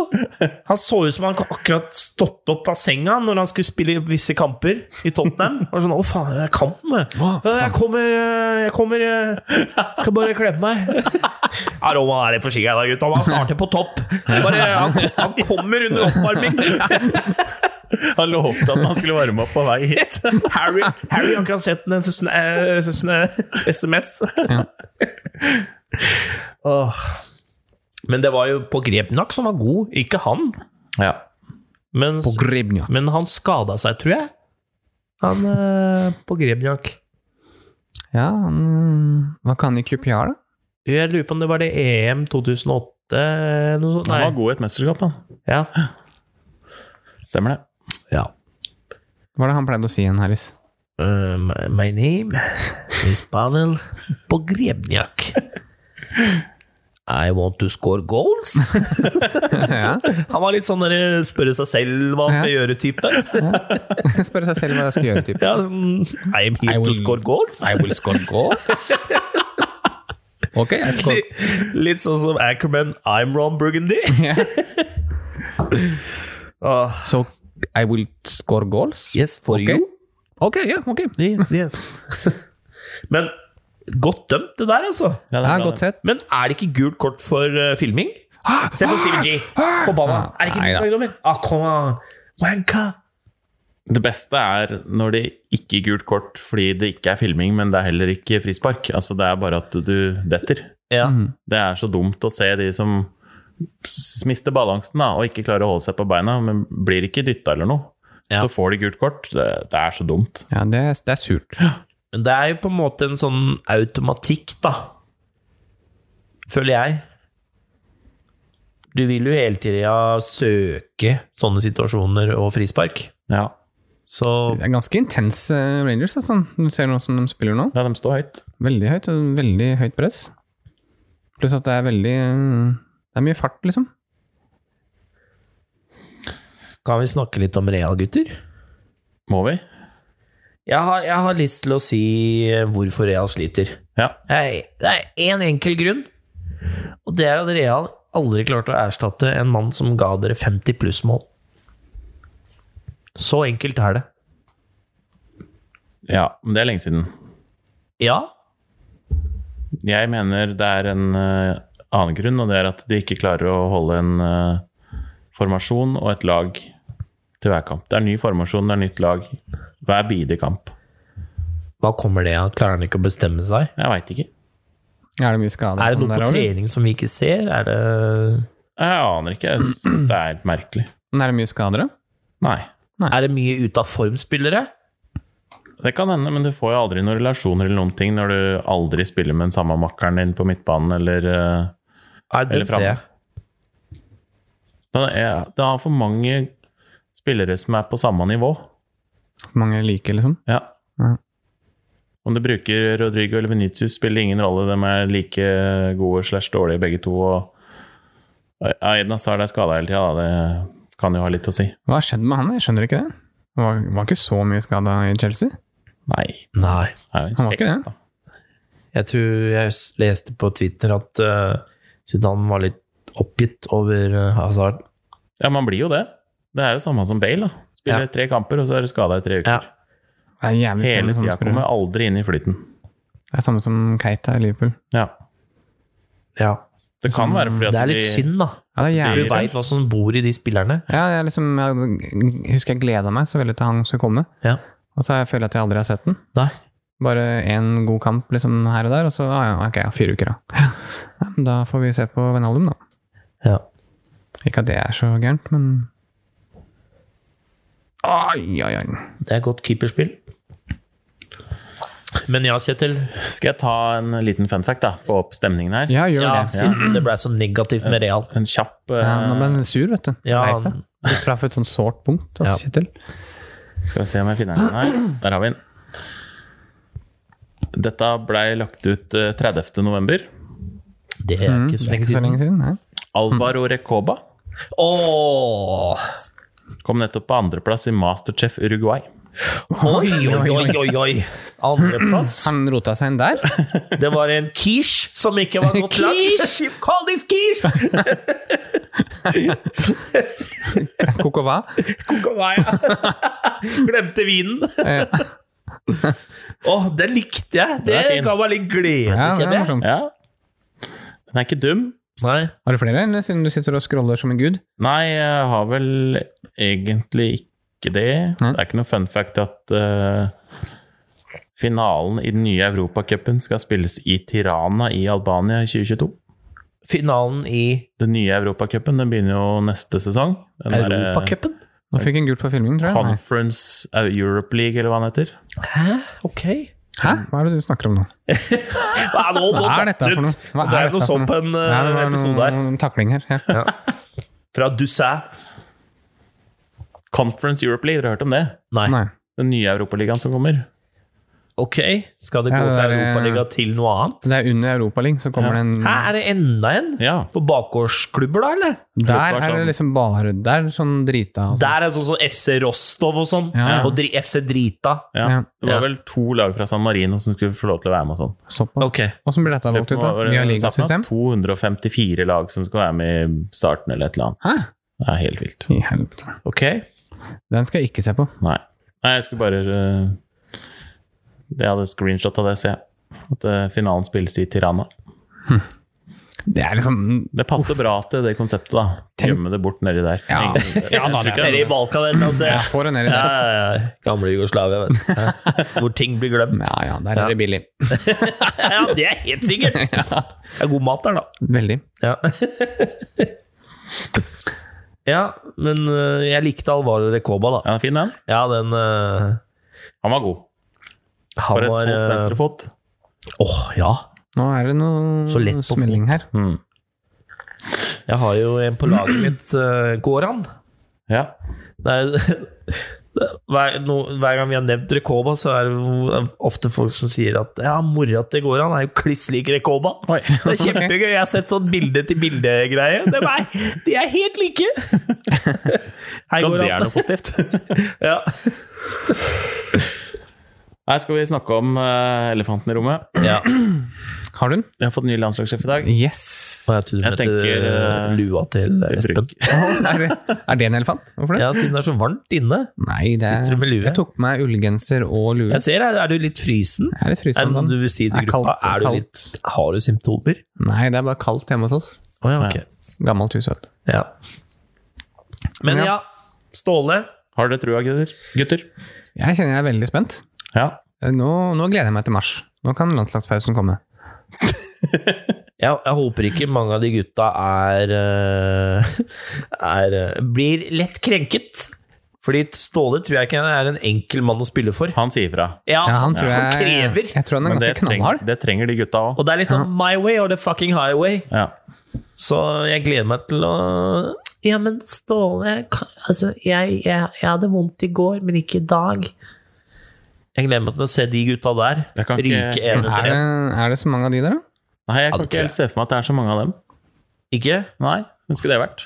Speaker 3: Han så ut som han akkurat stått opp av senga når han skulle spille visse kamper i Tottenham. Og sånn, å faen, det er kamp med.
Speaker 2: Hva faen?
Speaker 3: Jeg kommer, eh, jeg kommer jeg Skal bare kle på meg. Ja, Roman er litt forsiktig i dag, gutta. Han starter på topp. Bare, han, han kommer under oppvarming.
Speaker 1: Han lovte at han skulle varme opp på vei hit.
Speaker 3: Harry, Harry har akkurat sett en sn- eh, sn- eh, SMS.
Speaker 2: Ja.
Speaker 3: Åh. Men det var jo på Grebnak som var god, ikke han.
Speaker 1: Ja.
Speaker 3: Men,
Speaker 2: På Grebnia.
Speaker 3: men han skada seg, tror jeg. Han eh, på Grebnak.
Speaker 2: Ja, han eh, Hva kan i QPR, da?
Speaker 3: Jeg lurer på om det var det E EM 2008 eller noe sånt.
Speaker 1: Han var
Speaker 3: Nei.
Speaker 1: god i et mesterskap, han.
Speaker 3: Ja.
Speaker 1: Stemmer det.
Speaker 2: Hva var det han pleide å si igjen, Harris?
Speaker 3: Eh, my, my name is Pavel Pogrebniak. I want to score goals.
Speaker 2: Ja.
Speaker 3: Han var litt sånn der spørre seg selv hva han skal gjøre-type.
Speaker 2: Spørre seg selv hva jeg skal gjøre, typ.
Speaker 3: Ja, sånn I am
Speaker 2: I
Speaker 3: here to
Speaker 2: will-
Speaker 3: score goals.
Speaker 2: will score goals. Ok, jeg skal
Speaker 3: Litt, litt sånn som Ackerman, I'm Ron Burgundy. Åh,
Speaker 2: So I will score goals?
Speaker 3: yes, for
Speaker 2: Ok.
Speaker 3: you.
Speaker 2: Ok, ja, ok.
Speaker 3: Men godt dømt, det der, altså.
Speaker 1: Ja, det
Speaker 2: Ja,
Speaker 1: er bra,
Speaker 2: godt
Speaker 1: det.
Speaker 2: sett. Ah!
Speaker 3: Men er det ikke gult kort for eh, filming? Se på Steven G. Forbanna. Er det ikke
Speaker 2: Nei da.
Speaker 3: gult kort? dommer? Ah, kom an. Wanka.
Speaker 1: Det beste er når det ikke er gult kort fordi det ikke er filming, men det er heller ikke frispark. Altså, det er bare at du detter.
Speaker 3: Ja.
Speaker 1: Det er så dumt å se de som s- mister balansen da, og ikke klarer å holde seg på beina, men blir ikke dytta eller noe.
Speaker 3: Ja.
Speaker 1: Så får de gult kort. Det, det er så dumt.
Speaker 2: Ja, det er, det er surt.
Speaker 3: Men det er jo på en måte en sånn automatikk, da. Føler jeg. Du vil jo hele tida søke sånne situasjoner og frispark.
Speaker 1: Ja.
Speaker 3: Så
Speaker 2: Det er ganske intense Rangers, altså. Du ser nå som de spiller nå.
Speaker 1: ja, de står høyt.
Speaker 2: Veldig høyt, og veldig høyt press. Pluss at det er veldig eh, Det er mye fart, liksom.
Speaker 3: kan vi snakke litt om Real, gutter.
Speaker 1: Må vi?
Speaker 3: Jeg har, jeg har lyst til å si hvorfor Real sliter.
Speaker 1: Ja.
Speaker 3: Jeg- Det er én enkel grunn, og det er at Real aldri klarte å erstatte en mann som ga dere 50 pluss-mål. Så enkelt er det.
Speaker 1: ja. Men det er lenge siden.
Speaker 3: Ja,
Speaker 1: Jeg mener det er en eh, annen grunn, og det er at de ikke klarer å holde en eh, formasjon og et lag til hver kamp. Det er ny formasjon, det er nytt lag. Hver bidige kamp.
Speaker 3: Hva kommer det av? Klarer han ikke å bestemme seg?
Speaker 1: Jeg veit ikke.
Speaker 2: Er det mye skade? og
Speaker 3: Er det
Speaker 2: sånn
Speaker 3: noe
Speaker 2: der
Speaker 3: på
Speaker 2: også?
Speaker 3: trening som vi ikke ser? Er det
Speaker 1: Jeg aner ikke. Jeg syns det er helt merkelig.
Speaker 2: Men Er det mye skader, da?
Speaker 1: Nei.
Speaker 3: Er det mye ute av form-spillere?
Speaker 1: Det kan hende, men du får jo aldri noen relasjoner eller noen ting når du aldri spiller med den samme makkeren din på midtbanen eller eh,
Speaker 3: Er det
Speaker 1: Eller fram.
Speaker 3: ser jeg.
Speaker 1: Det er, det er for mange spillere som er på samme nivå.
Speaker 2: For mange like, liksom?
Speaker 1: Ja.
Speaker 2: Ja.
Speaker 1: Om du bruker Rodrigo eller Venitius, spiller ingen rolle. De er like gode slash dårlige begge to. Og Aiden Hazard er skada hele tida, det kan jo ha litt å si.
Speaker 2: Hva har skjedd med han? Jeg skjønner ikke det. Han var, var ikke så mye skada i Chelsea.
Speaker 1: Nei,
Speaker 3: Nei.
Speaker 1: han er jo
Speaker 2: Han var
Speaker 1: kjeks,
Speaker 2: ikke det.
Speaker 1: da.
Speaker 3: Jeg tror jeg s- leste på Twitter at eh, Zidane var litt oppgitt over eh, Hazard.
Speaker 1: Ja, man blir jo det. Det er jo samme som Bale. da. Spiller
Speaker 3: Ja.
Speaker 1: tre kamper, og så er du skada i tre
Speaker 3: Ja.
Speaker 1: uker.
Speaker 2: Det er sånn jævlig
Speaker 1: Hele
Speaker 2: irriterende sånne
Speaker 1: tida
Speaker 2: spillere.
Speaker 1: kommer aldri inn i flyten.
Speaker 2: Det er samme som Keita i Liverpool.
Speaker 1: Ja.
Speaker 3: ja.
Speaker 1: Det kan
Speaker 2: Sånn,
Speaker 1: være fordi at
Speaker 3: Det er litt
Speaker 1: de-
Speaker 3: synd, da.
Speaker 2: Ja, det er
Speaker 3: Du
Speaker 2: jævlig
Speaker 1: blir-
Speaker 2: synd.
Speaker 3: veit hva som bor i de spillerne.
Speaker 2: Ja, jeg, liksom, jeg husker jeg gleda meg så veldig til han skulle komme,
Speaker 3: Ja.
Speaker 2: og så har jeg føler jeg at jeg aldri har sett den.
Speaker 3: Nei.
Speaker 2: Bare én god kamp liksom, her og der, og så ah, ja, ok, ja, fire uker, da. Ja. Ja, men da får vi se på Venaldum, da.
Speaker 3: Ja.
Speaker 2: Ikke at det er så gærent, men Ai, ai, ai.
Speaker 3: Det er godt keeperspill. Men ja, Kjetil.
Speaker 1: Skal jeg ta en liten fun fact, da? Få opp stemningen her?
Speaker 2: Ja, gjør
Speaker 3: Ja,
Speaker 2: det.
Speaker 3: siden det ble så negativt med Real.
Speaker 1: En kjapp eh,
Speaker 2: Ja, nå ble han sur, vet du.
Speaker 3: Ja,
Speaker 2: Lei seg. Du traff et sånn sårt punkt, altså,
Speaker 3: Ja.
Speaker 2: Kjetil.
Speaker 1: Skal vi se om jeg finner den her. Der har vi den. Dette blei lagt ut eh, 30. november.
Speaker 3: Det er ikke
Speaker 2: Det
Speaker 3: så
Speaker 2: er
Speaker 3: lenge
Speaker 2: ikke så
Speaker 3: siden.
Speaker 2: lenge siden. Nei.
Speaker 1: Alvaro Recoba
Speaker 3: Åh!
Speaker 1: kom nettopp på andreplass i Masterchef Uruguay.
Speaker 3: Oi, oi, oi, oi, oi. Andreplass.
Speaker 2: Han rota seg inn der.
Speaker 3: Det var en quiche som ikke var godt lagd.
Speaker 2: Quiche!
Speaker 3: Kall this quiche!
Speaker 2: Koko hva?
Speaker 3: Koka meg. Glemte vinen.
Speaker 2: Eh,
Speaker 3: Åh, den likte jeg. Det,
Speaker 1: er fin.
Speaker 3: ga meg litt glede,
Speaker 2: Ja, det er
Speaker 3: kjenner jeg.
Speaker 2: morsomt.
Speaker 1: Ja. Den er ikke dum.
Speaker 3: Nei.
Speaker 2: Har du flere, eller siden du sitter og scroller som en gud?
Speaker 1: Nei, jeg har vel egentlig ikke det.
Speaker 2: Nei.
Speaker 1: Det er ikke noe fun fact at eh, finalen i den nye Europacupen skal spilles i Tirana i Albania i 2022.
Speaker 3: Finalen i
Speaker 1: Den nye Europacupen den begynner jo neste sesong. Den der, eh,
Speaker 3: Europacupen?
Speaker 2: Nå fikk jeg en gult for filming, tror jeg. Nei.
Speaker 1: Conference eh, Europe League, eller hva den heter.
Speaker 3: Hæ? Ok.
Speaker 2: Hæ? Hva er det du snakker om nå?
Speaker 3: Hva er, nå, nå
Speaker 2: Hva er dette
Speaker 3: datt
Speaker 2: for noe?
Speaker 3: ut.
Speaker 2: Hva
Speaker 3: det
Speaker 2: er
Speaker 3: er noe
Speaker 2: dette for
Speaker 3: sånn på en
Speaker 2: Ja,
Speaker 3: eh,
Speaker 2: det var
Speaker 3: episode
Speaker 2: noe-
Speaker 3: her.
Speaker 2: noen takling her. Ja.
Speaker 3: Fra Dusset.
Speaker 1: Conference Europe League, dere har hørt om det?
Speaker 3: Nei.
Speaker 2: Nei.
Speaker 1: Den nye Europaligaen som kommer.
Speaker 3: Ok, skal det gå
Speaker 2: Ja, det
Speaker 3: fra
Speaker 2: er, eh,
Speaker 3: Europaliga til noe annet?
Speaker 2: Det er under Europaligaen, så
Speaker 1: Ja.
Speaker 2: kommer det en
Speaker 3: Hæ, er det enda en?
Speaker 1: Ja.
Speaker 3: På bakgårdsklubber, da, eller?
Speaker 2: Der
Speaker 1: Klubbar
Speaker 2: er det
Speaker 1: sånn.
Speaker 2: liksom bare Der er sånn drita og sånn.
Speaker 3: Der er det sånn som FC Rostov og sånn.
Speaker 2: Ja, ja.
Speaker 3: Og dri FC Drita.
Speaker 1: Ja.
Speaker 2: Ja.
Speaker 1: Det var
Speaker 3: Ja.
Speaker 1: vel to lag fra San Marino som skulle få lov til å være med og sånn.
Speaker 2: Såpass.
Speaker 3: Ok.
Speaker 2: Åssen blir dette valgt ut, da?
Speaker 1: Det var-
Speaker 2: Via
Speaker 1: satt
Speaker 2: ligasystem?
Speaker 1: med 254 lag som skal være med i starten eller et eller annet.
Speaker 2: Hæ?
Speaker 1: Det er helt vilt.
Speaker 2: I helvete.
Speaker 3: Ok.
Speaker 2: Den skal jeg ikke se på.
Speaker 1: Nei. Nei, jeg skulle bare eh, Det hadde screenshot av det, ser jeg. At eh, finalen spilles i Tirana.
Speaker 2: Det er liksom
Speaker 1: Det passer bra til det konseptet, da.
Speaker 2: Tenk-
Speaker 1: Gjemme det bort nedi der.
Speaker 2: Ja. Ja da, det er-
Speaker 3: Ser i Balkan eller noe
Speaker 2: Jeg
Speaker 3: sted.
Speaker 2: får en del i
Speaker 3: Ja,
Speaker 2: det.
Speaker 3: ja, ja. Gamle Jugoslavia, vet du. Ja. Hvor ting blir glemt.
Speaker 2: Ja ja, der er det billig.
Speaker 3: Ja, det er helt sikkert. Det er god mat der, da.
Speaker 2: Veldig.
Speaker 3: Ja. ja, men eh, jeg likte Alvaro Recoba, da.
Speaker 1: Ja, den er fin, den.
Speaker 3: Ja, den eh,
Speaker 1: Han var god.
Speaker 3: Han
Speaker 1: For et
Speaker 3: var
Speaker 1: fot,
Speaker 3: eh,
Speaker 1: venstre fot.
Speaker 3: Åh, ja.
Speaker 2: Nå er det
Speaker 3: Så lett
Speaker 2: noe
Speaker 3: på
Speaker 2: smelling her.
Speaker 1: Mm.
Speaker 3: Jeg har jo en på laget mitt, eh, Goran.
Speaker 1: Ja.
Speaker 3: Det er, hver, no, hver gang vi har nevnt Rekoba, så er det jo ofte folk som sier at ja, mora til Goran er jo kliss lik Rekoba.
Speaker 1: Oi.
Speaker 3: Det er kjempegøy. Jeg har sett sånn bilde-til-bilde-greie. Det er meg! De er helt like! Hei,
Speaker 1: Kan det er
Speaker 3: Goran.
Speaker 1: noe positivt?
Speaker 3: Ja.
Speaker 1: Nei, skal vi snakke om eh, elefanten i rommet?
Speaker 3: ja.
Speaker 2: Har du den?
Speaker 1: Jeg har fått ny landslagssjef i dag.
Speaker 2: Yes!
Speaker 3: Og jeg tror
Speaker 1: Jeg
Speaker 3: jeg tenker
Speaker 1: tenker, eh,
Speaker 3: lua til Espen.
Speaker 1: Brygg.
Speaker 2: Er det, er det en elefant? Hvorfor det?
Speaker 3: Ja, siden det er så varmt inne.
Speaker 2: Nei, det
Speaker 3: Sitter du med lue?
Speaker 2: Jeg tok på meg ullgenser og lue.
Speaker 3: Jeg ser her, er du litt frysen?
Speaker 2: Jeg er litt
Speaker 3: Er det
Speaker 2: frysende.
Speaker 3: noe du vil si til
Speaker 2: Det sånn- er
Speaker 3: gruppa?
Speaker 2: kaldt,
Speaker 3: Er du
Speaker 2: kaldt.
Speaker 3: litt, har du symptomer?
Speaker 2: Nei, det er bare kaldt hjemme hos oss.
Speaker 3: Å ja,
Speaker 1: Ja.
Speaker 3: ok.
Speaker 2: Gammelt hus, vet du.
Speaker 3: Ja. Men
Speaker 2: Ja.
Speaker 3: ja, Ståle.
Speaker 1: Har dere trua, gutter? gutter?
Speaker 2: Jeg kjenner jeg er veldig spent.
Speaker 1: Ja.
Speaker 2: Nå, nå gleder jeg meg til mars. Nå kan landslagspausen komme.
Speaker 3: Jeg, jeg håper ikke mange av de gutta er, eh, er eh, blir lett krenket. Fordi Ståle tror jeg ikke er en enkel mann å spille for.
Speaker 1: Han sier ifra.
Speaker 3: Ja,
Speaker 2: Ja, han tror
Speaker 3: han
Speaker 2: jeg,
Speaker 3: krever.
Speaker 2: jeg tror han er
Speaker 1: Men det,
Speaker 2: ganske knallhard.
Speaker 1: treng, det trenger de gutta òg.
Speaker 3: Og det er litt sånn my way or the fucking highway.
Speaker 1: Ja.
Speaker 3: Så jeg gleder meg til å Ja, men Ståle kan- Altså, jeg, jeg, jeg hadde vondt i går, men ikke i dag. Jeg gleder meg til å se de gutta der
Speaker 1: Jeg kan ikke-
Speaker 3: ryke
Speaker 2: Er
Speaker 3: en etter
Speaker 2: det,
Speaker 3: en.
Speaker 2: er det så mange av de der, da?
Speaker 1: Nei, jeg
Speaker 3: Ja,
Speaker 1: kan
Speaker 3: det
Speaker 1: ikke
Speaker 3: tror
Speaker 1: helt
Speaker 3: jeg.
Speaker 1: se for meg at det er så mange av dem.
Speaker 3: Ikke?
Speaker 1: Nei, hvem skulle det vært?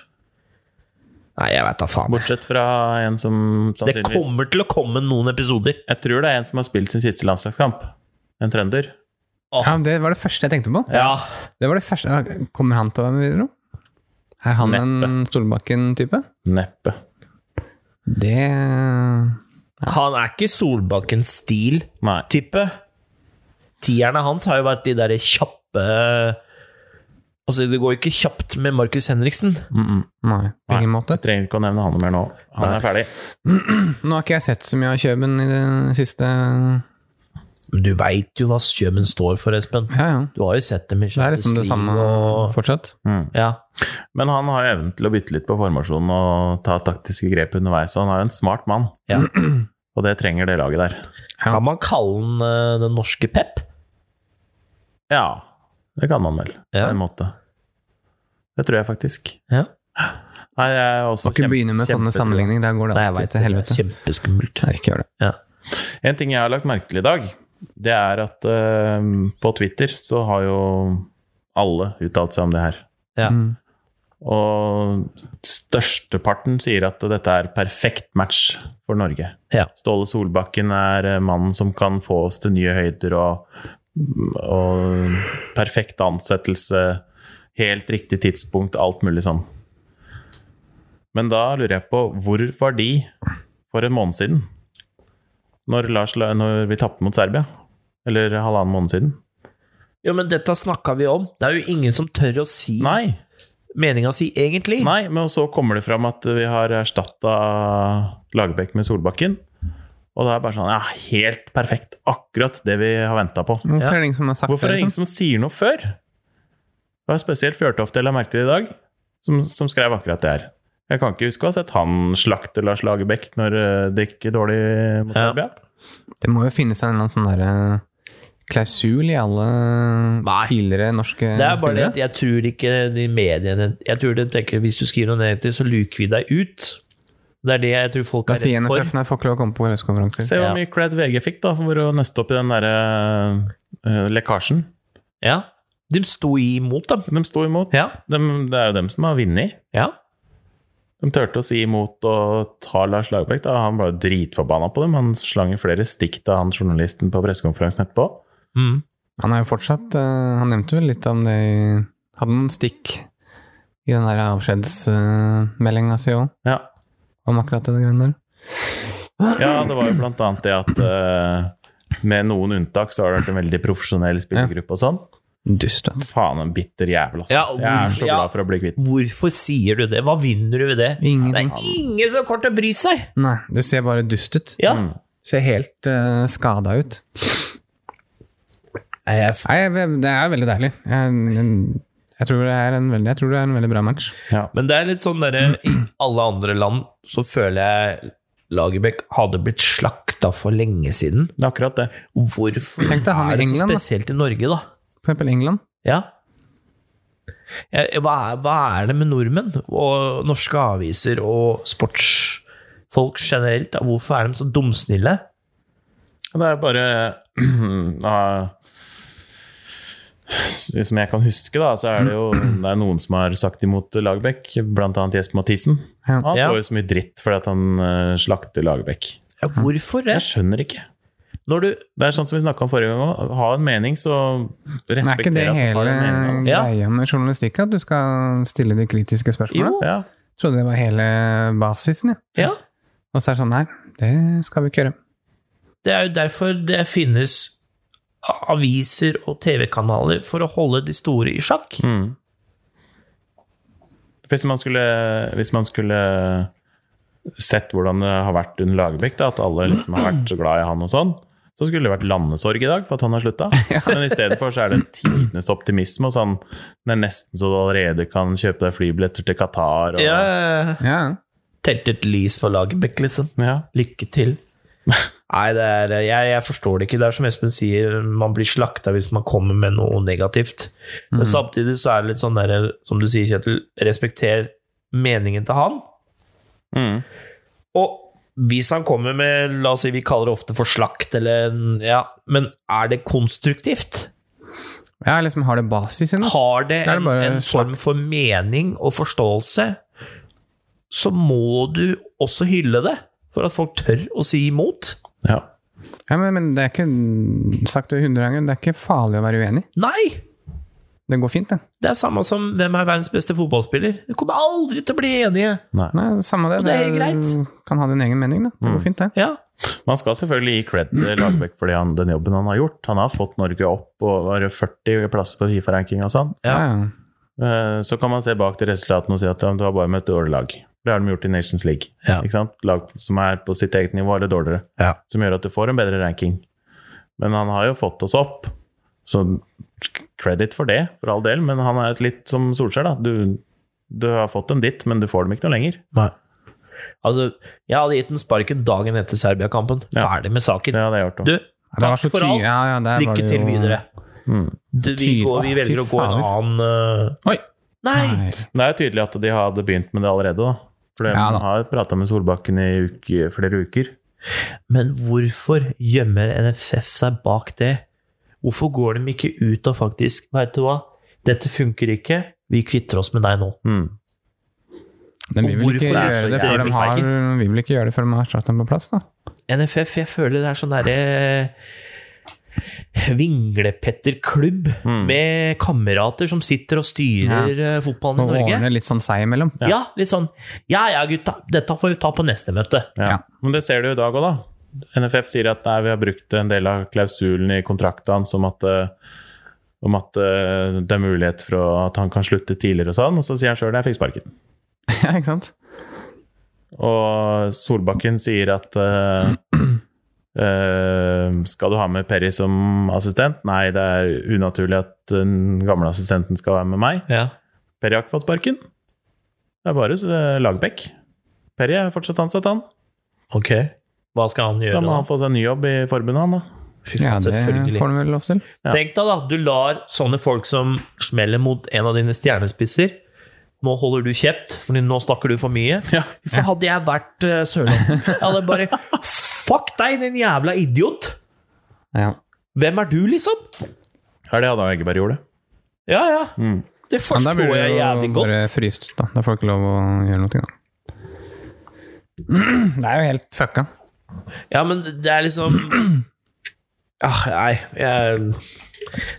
Speaker 3: Nei, jeg veit da faen.
Speaker 1: Bortsett fra en som
Speaker 3: Det
Speaker 1: sannsynligvis
Speaker 3: kommer til å komme noen episoder.
Speaker 1: Jeg tror det er en som har spilt sin siste landslagskamp. En trønder.
Speaker 2: Ja, det var det første jeg tenkte på.
Speaker 3: Ja.
Speaker 2: Det var det første. ja, Kommer han til å være med videre? da? Er han en Solbakken-type?
Speaker 1: Neppe.
Speaker 2: Det
Speaker 3: Han er ikke Solbakkens stil-type.
Speaker 1: Nei.
Speaker 3: Tierne hans har jo vært de derre kjappe Altså, det går jo ikke kjapt med Markus Henriksen.
Speaker 1: Mm -mm.
Speaker 2: Nei, på ingen måte.
Speaker 1: Jeg trenger ikke å nevne han noe mer nå. Han er ferdig.
Speaker 2: Nå har ikke jeg sett så mye av Kjøben i det siste Ja,
Speaker 3: Men du veit jo hva Kjøben står for, Espen.
Speaker 2: ja.
Speaker 3: Du har jo sett dem i
Speaker 2: Det er liksom det samme
Speaker 3: og
Speaker 2: fortsatt.
Speaker 1: Mm.
Speaker 3: Ja.
Speaker 1: Men han har jo evnen til å bytte litt på formasjonen og ta taktiske grep underveis. Og han er jo en smart mann,
Speaker 3: ja.
Speaker 1: og det trenger det laget der.
Speaker 3: Kan man kalle han eh, den norske Pep?
Speaker 1: Ja, det kan man vel.
Speaker 3: Ja.
Speaker 1: På en måte. Det tror jeg faktisk.
Speaker 3: Ja.
Speaker 1: Nei, jeg er også
Speaker 2: Må ikke
Speaker 1: kjempe-
Speaker 2: begynne med sånne
Speaker 1: kjempetrua.
Speaker 2: sammenligninger. Der går det
Speaker 3: Nei, jeg
Speaker 2: alltid
Speaker 3: veit
Speaker 2: til
Speaker 3: det.
Speaker 2: helvete.
Speaker 3: Kjempeskummelt.
Speaker 2: Nei, ikke gjør det.
Speaker 3: Ja.
Speaker 1: En ting ehm, jeg har lagt merke til i dag, det er at eh, på Twitter så har jo alle uttalt seg om det her.
Speaker 3: Ja.
Speaker 2: Mm.
Speaker 1: Og størsteparten sier at dette er perfekt match for Norge.
Speaker 3: Ja.
Speaker 1: Ståle Solbakken er eh, mannen som kan få oss til nye høyder og, og perfekt ansettelse, helt riktig tidspunkt, alt mulig sånn. Men da lurer jeg på, hvor var de for en måned siden? Når, Lars, La- når vi tapte mot Serbia? Eller halvannen måned siden?
Speaker 3: Jo, men dette snakka vi om. Det er jo ingen som tør å si
Speaker 1: Nei!
Speaker 3: meninga si, egentlig.
Speaker 1: Nei, men så kommer det fram at vi har erstatta Lagerbäck med Solbakken. Og da er det bare sånn Ja, helt perfekt. Akkurat det vi har venta på.
Speaker 2: Hvorfor
Speaker 3: Ja.
Speaker 2: er det ingen som har sagt
Speaker 1: Hvorfor er det
Speaker 2: det?
Speaker 1: ingen
Speaker 2: Liksom?
Speaker 3: sånn?
Speaker 1: som sier noe før? Det var spesielt Fjørtoft jeg la merke til i dag, som, som skrev akkurat det her. Jeg kan ikke huske å ha sett han slakte Lars Lagerbäck når eh, det gikk dårlig mot
Speaker 3: Ja.
Speaker 1: Serbia.
Speaker 2: Det må jo finnes en eller annen sånn derre klausul i alle
Speaker 3: Nei.
Speaker 2: tidligere norske
Speaker 3: Det er bare det
Speaker 2: spillere.
Speaker 3: at jeg tror ikke de mediene Jeg tror de tenker hvis du skriver noe negativt, så luker vi deg ut. Det er det jeg tror folk
Speaker 2: Da
Speaker 3: er
Speaker 2: sier
Speaker 3: redd for.
Speaker 2: NFF nei, får ikke lov å komme på pressekonferanser.
Speaker 1: Se hvor
Speaker 3: Ja.
Speaker 1: mye cred VG fikk da for å nøste opp i den derre eh, lekkasjen.
Speaker 3: Ja. De sto imot dem.
Speaker 1: De sto imot.
Speaker 3: Ja.
Speaker 1: De, det er jo dem som har vunnet.
Speaker 3: ja.
Speaker 1: De turte å si imot og ta Lars Lagerbäck. da. Han var jo dritforbanna på dem. Han slang jo flere stikk til han journalisten på pressekonferansen etterpå.
Speaker 3: Mm.
Speaker 2: Han er jo fortsatt eh, Han nevnte vel litt om det i Hadde noen stikk i den der avskjedsmeldinga si òg,
Speaker 1: Ja,
Speaker 2: om akkurat det greiene der.
Speaker 1: ja det var jo blant annet det at eh, med noen unntak så har det vært en veldig profesjonell spillergruppe og sånn.
Speaker 2: Dust, vet du.
Speaker 1: Faen, en bitter jævel, altså.
Speaker 3: Ja, og
Speaker 1: Jeg er
Speaker 3: hvorfor-
Speaker 1: så
Speaker 3: ja.
Speaker 1: glad for å bli kvitt den.
Speaker 3: Hvorfor sier du det? Hva vinner du ved det? Det
Speaker 2: Ingenting.
Speaker 3: er ingen som kommer til å bry seg!
Speaker 2: Nei, du ser bare dust ut.
Speaker 3: Ja.
Speaker 1: Mm.
Speaker 2: Ser helt uh, skada ut.
Speaker 3: Nei, jeg f-
Speaker 2: Nei, jeg- det er veldig deilig. Jeg, jeg, jeg, tror det er en veldig, jeg tror det er en veldig bra match.
Speaker 1: Ja.
Speaker 3: Men det er litt sånn derre I
Speaker 2: Mm.
Speaker 3: alle andre land så føler jeg Lagerbäck hadde blitt slakta for lenge siden.
Speaker 1: Det er akkurat det.
Speaker 3: Hvorfor
Speaker 2: Tenk deg han i
Speaker 3: er det så
Speaker 2: England, da.
Speaker 3: spesielt i Norge, da?
Speaker 2: For eksempel England.
Speaker 3: Ja. Jeg- Hva er, hva er det med nordmenn og norske aviser og sportsfolk generelt? Da? Hvorfor er de så dumsnille?
Speaker 1: Og Det er bare ah, Som jeg kan huske, da, så er det jo det er noen som har sagt imot Lagerbäck, blant annet Jesper Mathisen.
Speaker 2: Ja.
Speaker 1: Han
Speaker 3: Ja.
Speaker 1: får jo så mye dritt fordi at han eh, slakter Lagerbäck.
Speaker 3: Ja,
Speaker 2: Mm.
Speaker 3: hvorfor
Speaker 1: Jeg
Speaker 3: det?
Speaker 1: skjønner ikke.
Speaker 3: Når du
Speaker 1: Det er sånn som vi snakka om forrige gang òg. Ha en mening, så
Speaker 2: Men er ikke det
Speaker 1: respekter at du
Speaker 2: hele
Speaker 1: har en mening.
Speaker 3: Ja.
Speaker 2: greia med journalistikk, at du skal stille de kritiske spørsmålene?
Speaker 3: Jo.
Speaker 1: Ja.
Speaker 2: Trodde det var hele basisen, jeg.
Speaker 3: Ja,
Speaker 2: Og så er det sånn, nei, det skal vi ikke gjøre.
Speaker 3: det er jo derfor det finnes aviser og TV-kanaler for å holde de store i sjakk.
Speaker 1: Mm. Hvis, man skulle, hvis man skulle sett hvordan det har vært under Lagerbäck, da, at alle liksom har vært så glad i han og sånn, så skulle det vært landesorg i dag for at han har slutta. Men istedenfor så er det tidenes optimisme, og sånn Det er nesten så du allerede kan kjøpe deg flybilletter til Qatar og
Speaker 3: Jeg
Speaker 2: Ja,
Speaker 3: telte et lys for Lagerbäck, liksom.
Speaker 1: Ja.
Speaker 3: Lykke til. Nei, det er, jeg, jeg forstår det ikke. Det er som Espen sier, man blir slakta hvis man kommer med noe negativt. Men samtidig så er det litt sånn der, som du sier, Kjetil, respekter meningen til han.
Speaker 1: Mm.
Speaker 3: Og hvis han kommer med, la oss si vi kaller det ofte for slakt, eller en- Ja, men er det konstruktivt?
Speaker 2: ja liksom har det basis i noe.
Speaker 3: Har det
Speaker 2: Da er det
Speaker 3: en,
Speaker 2: bare
Speaker 3: en form for mening og forståelse, så må du også hylle det. For at folk tør å si imot.
Speaker 1: ja.
Speaker 2: Ja, men, men det er ikke sagt det hundre ganger, det er ikke farlig å være uenig.
Speaker 3: Nei!
Speaker 2: Det går fint, det.
Speaker 3: Det er samme som hvem er verdens beste fotballspiller. Du kommer aldri til å bli enige.
Speaker 2: Nei, samme det.
Speaker 3: Og det er
Speaker 2: Kan ha din egen mening, da. Det går fint, det.
Speaker 3: Ja.
Speaker 1: Man skal selvfølgelig gi cred til Lagerbäck for det han- den jobben han har gjort. Han har fått Norge opp og var 40 plasser på Fifa-ranking og sånn.
Speaker 3: Ja.
Speaker 2: Ja,
Speaker 1: Eh, Så kan man se bak til resultatene og si at ja, men du har bare møtt dårlig lag. Det har de gjort i Nations League.
Speaker 3: Ja.
Speaker 1: Ikke sant? Lag som er på sitt eget nivå eller dårligere.
Speaker 3: Ja.
Speaker 1: Som gjør at du får en bedre ranking. Men han har jo fått oss opp, så credit for det, for all del. Men han er litt som Solskjær, da. Du, du har fått dem dit, men du får dem ikke noe lenger.
Speaker 3: Altså, jeg hadde gitt den sparken dagen etter Serbia-kampen.
Speaker 1: Ja.
Speaker 3: Ferdig med saken.
Speaker 1: Det hadde jeg gjort
Speaker 3: Du,
Speaker 1: òg.
Speaker 2: Det var
Speaker 3: takk
Speaker 2: så
Speaker 3: for
Speaker 2: ty-
Speaker 3: alt.
Speaker 2: Ja, ja, der var
Speaker 3: Lykke
Speaker 2: det
Speaker 3: til
Speaker 2: jo-
Speaker 3: videre.
Speaker 1: Mm.
Speaker 3: Du, vi,
Speaker 2: Tydelig.
Speaker 3: går, vi
Speaker 2: Å,
Speaker 3: velger
Speaker 2: fy
Speaker 3: å gå en annen øh,
Speaker 2: Oi.
Speaker 3: Nei!
Speaker 2: Nei.
Speaker 1: Det er jo tydelig at de hadde begynt med det allerede, da. For de
Speaker 2: Ja, da.
Speaker 1: har prata med Solbakken i uke, flere uker.
Speaker 3: Men hvorfor gjemmer NFF seg bak det? Hvorfor går de ikke ut og faktisk Vet du hva? Dette funker ikke. Vi kvitter oss med deg nå.
Speaker 1: Mm.
Speaker 2: Men vi
Speaker 3: Og
Speaker 2: vil ikke
Speaker 3: hvorfor det er så
Speaker 2: gjøre det før de
Speaker 3: jævlig
Speaker 2: har
Speaker 3: feigt?
Speaker 2: Vi vil ikke gjøre det før de har satt dem på plass, da.
Speaker 3: NFF, jeg føler det er sånn derre eh, Vinglepetterklubb
Speaker 1: Mm.
Speaker 3: med kamerater som sitter og styrer eh, fotballen
Speaker 2: Og
Speaker 3: i Norge.
Speaker 2: ordne litt sånn seg imellom.
Speaker 3: Ja. litt sånn Ja ja, gutta, dette får vi ta på neste møte.
Speaker 1: Ja.
Speaker 2: Ja.
Speaker 1: Men det ser du i dag òg, da. NFF sier at nei, vi har brukt en del av klausulen i kontraktene som at eh, om at eh, det er mulighet for å- at han kan slutte tidligere og sånn. Og så sier han sjøl jeg fikk sparken.
Speaker 2: Ja, ikke sant?
Speaker 1: Og Solbakken sier at eh, eh, skal du ha med Perry som assistent? Nei, det er unaturlig at den gamle assistenten skal være med meg.
Speaker 3: Ja.
Speaker 1: Perry har ikke fått sparken. Det er bare eh, Lagerbäck. Perry er fortsatt ansatt, han.
Speaker 3: Ok. Hva skal han gjøre
Speaker 1: Da må
Speaker 3: da?
Speaker 1: han få seg en ny jobb i forbundet, han da.
Speaker 3: Fy
Speaker 2: Ja,
Speaker 3: faen,
Speaker 2: det
Speaker 3: selvfølgelig.
Speaker 2: får de vel lov til.
Speaker 1: Ja.
Speaker 3: Tenk deg da, du lar sånne folk som smeller mot en av dine stjernespisser. Nå holder du kjeft, fordi nå snakker du for mye.
Speaker 1: Ja.
Speaker 3: For hadde jeg vært uh, Sørlandet, jeg hadde bare Fuck deg, din jævla idiot!
Speaker 2: Ja.
Speaker 3: Hvem er du, liksom?
Speaker 1: Er det Adam Eggeberg gjorde?
Speaker 3: Ja, ja.
Speaker 1: Mm.
Speaker 2: Men da
Speaker 3: Det forstår
Speaker 2: blir
Speaker 3: jeg
Speaker 2: det
Speaker 3: jævlig
Speaker 2: jo
Speaker 3: godt.
Speaker 2: bare fryst ut, da. Da får du ikke lov å gjøre noe, da. Det er jo helt fucka.
Speaker 3: Ja, men det er liksom ah, Nei, jeg,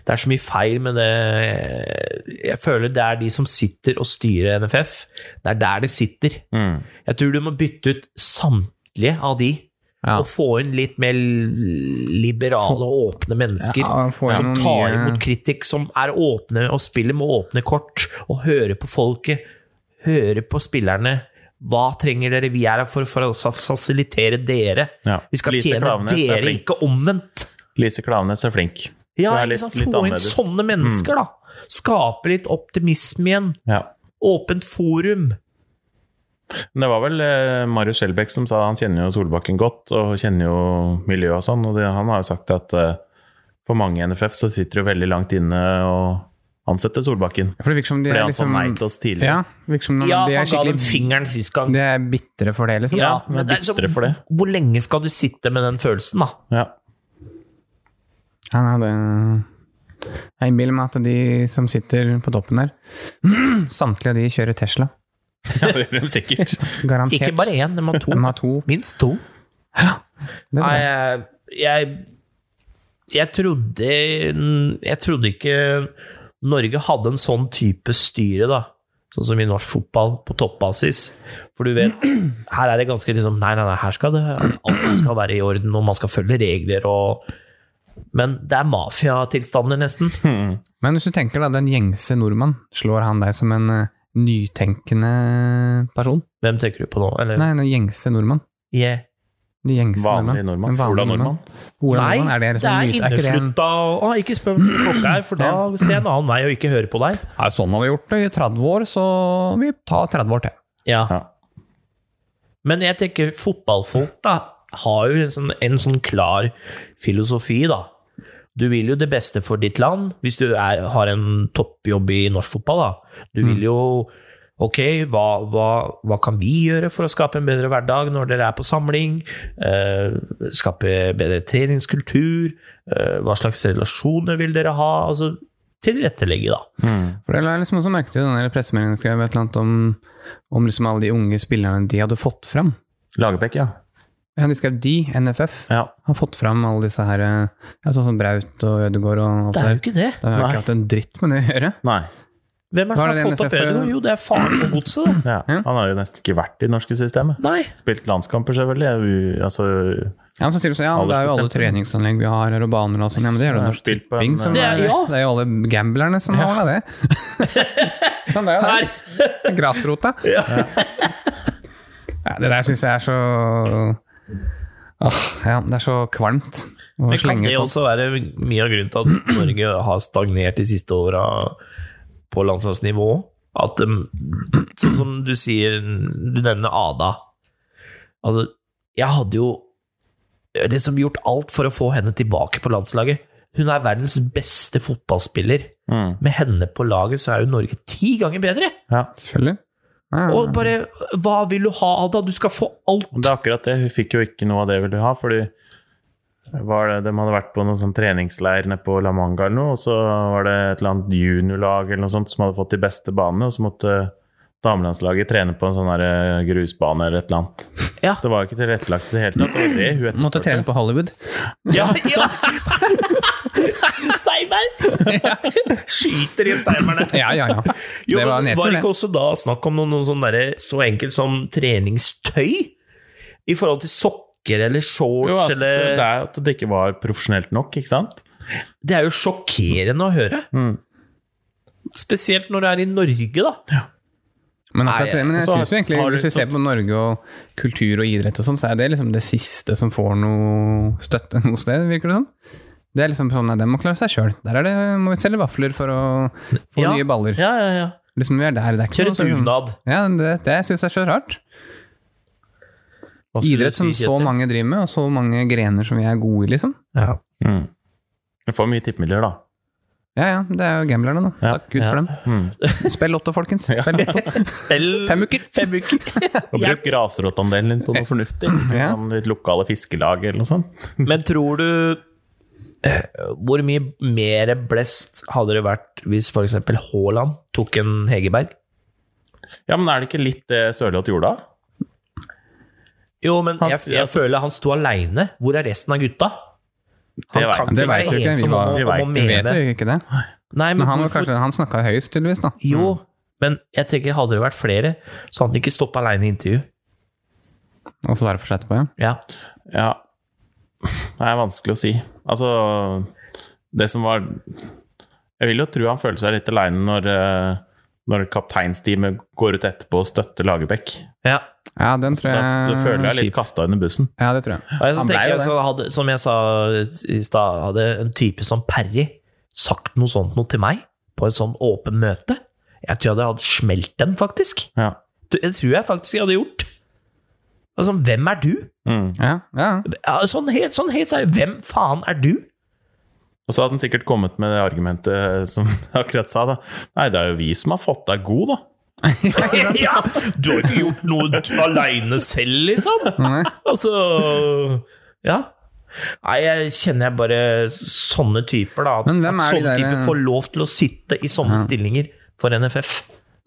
Speaker 3: det er så mye feil med det Jeg føler det er de som sitter og styrer NFF. Det er der det sitter.
Speaker 1: Mm.
Speaker 3: Jeg tror du må bytte ut samtlige av de.
Speaker 2: Ja.
Speaker 3: Og få inn litt mer liberale og åpne mennesker.
Speaker 2: Ja, og få
Speaker 3: som
Speaker 2: igjen noen
Speaker 3: tar
Speaker 2: nye-
Speaker 3: imot kritikk, som er åpne og spiller med åpne kort. Og hører på folket. Hører på spillerne. Hva trenger dere? Vi er her for, for å fa- fasilitere dere.
Speaker 1: Ja.
Speaker 3: Vi skal
Speaker 1: Lise
Speaker 3: tjene
Speaker 1: Klaveness er
Speaker 3: dere,
Speaker 1: flink.
Speaker 3: ikke omvendt.
Speaker 1: Lise Klaveness er flink.
Speaker 3: Ja,
Speaker 1: Det er
Speaker 3: ikke
Speaker 1: litt-
Speaker 3: sant?
Speaker 1: litt
Speaker 3: Få inn
Speaker 1: annerledes. Mm.
Speaker 3: sånne mennesker, da. Skape litt optimisme igjen.
Speaker 1: Ja.
Speaker 3: Åpent forum.
Speaker 1: Men det var vel eh, Marius Skjelbæk som sa han kjenner jo Solbakken godt og kjenner jo miljøet og sånn. Og det, han har jo sagt at eh, for mange i NFF så sitter det jo veldig langt inne og ansetter Solbakken.
Speaker 2: For det virker som de
Speaker 1: Fordi
Speaker 2: er
Speaker 1: han sa
Speaker 2: liksom
Speaker 1: nei til oss tidligere.
Speaker 2: Ja, virker
Speaker 1: Mm,
Speaker 2: som de,
Speaker 3: Ja,
Speaker 2: de er
Speaker 3: han ga dem
Speaker 2: skikkelig
Speaker 3: fingeren sist gang.
Speaker 2: De er bitre for det, liksom.
Speaker 3: Ja,
Speaker 1: men
Speaker 3: men det er
Speaker 1: bitre for det.
Speaker 3: Hvor lenge skal de sitte med den følelsen, da?
Speaker 1: Ja.
Speaker 2: Ja, nei, det Jeg innbiller meg at de som sitter på toppen der, samtlige av de kjører Tesla.
Speaker 1: ja, det gjør de sikkert.
Speaker 2: Garantert.
Speaker 3: Ikke bare én, de har to.
Speaker 2: De har to.
Speaker 3: Minst to.
Speaker 2: Det
Speaker 3: Nei,
Speaker 2: tror jeg.
Speaker 3: jeg, jeg Jeg trodde Jeg trodde ikke Norge hadde en sånn type styre, da. Sånn som i norsk fotball, på toppbasis. For du vet, her er det ganske liksom Nei, nei, nei, her skal det Alt skal være i orden, og man skal følge regler og Men det er mafiatilstander, nesten.
Speaker 2: Men hvis du tenker da, den gjengse nordmann, slår han deg som en eh, nytenkende person?
Speaker 3: Hvem tenker du på nå? Eller?
Speaker 2: Nei, den gjengse nordmann.
Speaker 3: Yeah.
Speaker 2: De gjengse
Speaker 1: Vanlig nordmann.
Speaker 2: En vanlig
Speaker 1: Ola nordmann.
Speaker 2: Ola
Speaker 3: Nei,
Speaker 2: nordmann, er det, liksom en ny- er ikke det en-
Speaker 3: inneslutta og Å, Ikke spør om klokka er, for da ser jeg en annen vei og ikke hører på deg.
Speaker 2: Nei, sånn har vi gjort det i 30 år, så vi tar 30 år til.
Speaker 1: Ja.
Speaker 3: Men jeg tenker fotballfolk da har jo en sånn, en sånn klar filosofi, da. Du vil jo det beste for ditt land, hvis du er, har en toppjobb i norsk fotball. da. Du vil jo Ok, hva, hva, hva kan vi gjøre for å skape en bedre hverdag når dere er på samling? Eh, skape bedre treningskultur? Eh, hva slags relasjoner vil dere ha? Altså, tilrettelegge, da.
Speaker 2: For det la jeg liksom også merke til i den der pressemeldingen jeg skrev et eller annet om, om liksom alle de unge spillerne de hadde fått fram.
Speaker 1: Lagerbäck, ja.
Speaker 2: Ja, de skrev de, NFF,
Speaker 1: ja.
Speaker 2: har fått fram alle disse her eh, ja, sånn som Braut og Ødegaard og alt
Speaker 3: Det
Speaker 2: det
Speaker 3: er
Speaker 2: der.
Speaker 3: jo ikke det.
Speaker 2: Det har
Speaker 1: Nei.
Speaker 2: ikke hatt en dritt med det å gjøre.
Speaker 1: Nei.
Speaker 3: Hvem er
Speaker 2: Hva
Speaker 3: det som
Speaker 2: er det
Speaker 3: har fått opp
Speaker 2: NFF?
Speaker 3: Ødegaard? Jo, det er faren på godset, da.
Speaker 1: Ja. Han har jo nesten ikke vært i det norske systemet.
Speaker 3: Nei.
Speaker 1: Spilt landskamper, selvfølgelig. Ja, u- Altså,
Speaker 2: Ja, men så sier du sånn, ja, men det er jo alle
Speaker 1: Aldersbestemt.
Speaker 2: treningsanlegg vi har her, og baner og sånn. Ja, men det gjør det
Speaker 1: Ja,
Speaker 2: Norsk
Speaker 1: spilt på en-
Speaker 2: Tipping som
Speaker 3: Det er-
Speaker 2: er
Speaker 3: ja.
Speaker 2: Det er jo alle gamblerne som har det. sånn, det er jo det. Det er Grasrota. Ja. det der syns jeg er så Åh, ja, det er så kvalmt. å
Speaker 3: Men kan
Speaker 2: slenge
Speaker 3: det
Speaker 2: ut sånt.
Speaker 3: også være mye av grunnen til at Norge har stagnert de siste åra på landslagsnivå? At um, Sånn som du sier, du nevner Ada. Altså, jeg hadde jo liksom gjort alt for å få henne tilbake på landslaget. Hun er verdens beste fotballspiller.
Speaker 1: mm.
Speaker 3: Med henne på laget så er jo Norge ti ganger bedre!
Speaker 1: ja.
Speaker 2: Selvfølgelig. Ja, ja,
Speaker 3: Og bare Hva vil du ha, Ada? Du skal få alt!
Speaker 1: Men Det er akkurat det. Hun fikk jo ikke noe av det hun ville ha, fordi var det, de hadde vært på noen sånn treningsleir nede på La Manga eller noe, og så var det et eller annet juniorlag eller noe sånt som hadde fått de beste banene, og så måtte damelandslaget trene på en sånn her, eh, grusbane eller et eller annet.
Speaker 3: Ja.
Speaker 1: Det var jo ikke tilrettelagt i det hele tatt. Det var det hun etterspurte.
Speaker 2: Måtte trene på Hollywood.
Speaker 1: Ja,
Speaker 3: Ja. Steinberg! Skyter i en steinberg der.
Speaker 2: Ja, ja, ja.
Speaker 3: Jo,
Speaker 2: det var
Speaker 3: men
Speaker 2: nedtur,
Speaker 3: det
Speaker 2: det.
Speaker 3: ikke også da snakk om noe sånn derre- så enkelt som treningstøy? I forhold til sokker eller shorts
Speaker 1: Jo, altså, det
Speaker 3: eller
Speaker 1: det er jo at det ikke var profesjonelt nok, ikke sant?
Speaker 3: Det er jo sjokkerende å høre.
Speaker 1: Mm.
Speaker 3: Spesielt når det er i Norge, da.
Speaker 2: Men, akkurat,
Speaker 3: Nei,
Speaker 2: men jeg
Speaker 1: så har-
Speaker 2: synes jo egentlig,
Speaker 1: har du
Speaker 2: hvis vi ser
Speaker 1: tatt-
Speaker 2: på Norge og kultur og idrett og sånn, så er det liksom det siste som får noe støtte noe sted, virker det sånn. Det er liksom sånn, nei, den må klare seg sjøl. Der er det, må vi selge vafler for å få
Speaker 3: Ja.
Speaker 2: nye baller.
Speaker 3: Ja, ja, ja.
Speaker 2: Liksom, vi er der, det er ikke
Speaker 3: Kjøre
Speaker 2: noe sånn-
Speaker 3: dugnad.
Speaker 2: Ja, det, det syns jeg er så rart.
Speaker 3: Hva skulle
Speaker 2: Idrett
Speaker 3: du
Speaker 2: som sånn-
Speaker 3: si,
Speaker 2: så
Speaker 3: Kjetil?
Speaker 2: mange driver med, og så mange grener som vi er gode i, liksom.
Speaker 3: Ja.
Speaker 1: Mm. Du får mye tippemidler, da.
Speaker 2: Ja ja, det er jo gamblerne, da.
Speaker 1: Ja.
Speaker 2: Takk Gud
Speaker 3: Ja.
Speaker 2: for dem.
Speaker 1: Mm.
Speaker 2: Spill lotto, folkens. Spill lotto.
Speaker 3: Spill
Speaker 2: Fem uker.
Speaker 3: Fem uker.
Speaker 1: Og bruk grasrotandelen din på noe fornuftig.
Speaker 2: Ja.
Speaker 1: Sånn ditt lokale fiskelag eller noe sånt.
Speaker 3: Men tror du eh, Hvor mye mer blest hadde det vært hvis f.eks. Haaland tok en Hegerberg?
Speaker 1: Ja, men er det ikke litt det Sørloth gjorde da?
Speaker 3: Jo, men
Speaker 1: Han-
Speaker 3: jeg, jeg føler han sto aleine. Hvor er resten av gutta? altså- Han
Speaker 1: vet-
Speaker 3: kan
Speaker 2: det
Speaker 3: ikke
Speaker 2: vet
Speaker 3: være
Speaker 2: jo ikke, vi
Speaker 3: ensom
Speaker 2: var-
Speaker 3: om å-
Speaker 1: vi vet-
Speaker 3: om å
Speaker 1: vi
Speaker 2: Vet
Speaker 3: mene.
Speaker 2: jo ikke det.
Speaker 3: Nei,
Speaker 2: Men han, var
Speaker 3: hvorfor- Mm.
Speaker 2: kanskje, han snakka høyest, tydeligvis, da.
Speaker 3: Jo, men jeg tenker hadde det vært flere, så hadde han ikke stått aleine i intervju.
Speaker 2: Og så være for seg etterpå, ja.
Speaker 3: Ja.
Speaker 1: Ja. Det er vanskelig å si. Altså, det som var Jeg vil jo tro han føler seg litt aleine når, eh, når kapteinsteamet går ut etterpå og støtter Lagerbäck.
Speaker 3: ja.
Speaker 2: Ja, den tror
Speaker 1: Altså, Da, da
Speaker 2: jeg
Speaker 1: føler jeg litt
Speaker 2: kjip.
Speaker 1: kasta under bussen.
Speaker 2: Ja, det tror jeg.
Speaker 3: Og jeg, så
Speaker 2: Han ble
Speaker 3: tenker
Speaker 2: jo
Speaker 3: jeg,
Speaker 2: det.
Speaker 3: så hadde, som jeg sa i stad, hadde en type som Perry sagt noe sånt noe til meg på en sånn åpen møte Jeg tror jeg hadde smelt den, faktisk.
Speaker 1: Ja.
Speaker 3: Det det tror jeg faktisk jeg hadde gjort. Altså, hvem er du?
Speaker 1: Mm.
Speaker 2: Ja, ja.
Speaker 3: Ja, Sånn helt, sånn helt seriøst, hvem faen er du?
Speaker 1: Og så hadde han sikkert kommet med det argumentet som jeg akkurat sa, da. Nei, det er jo vi som har fått deg god, da.
Speaker 3: ja, du har ikke gjort noe aleine selv, liksom.
Speaker 2: Nei.
Speaker 3: Altså Ja. Nei, jeg kjenner jeg bare sånne typer, da. At,
Speaker 2: Men hvem
Speaker 3: at
Speaker 2: er de
Speaker 3: sånne
Speaker 2: der- eh?
Speaker 3: typer får lov til å sitte i sånne stillinger for NFF.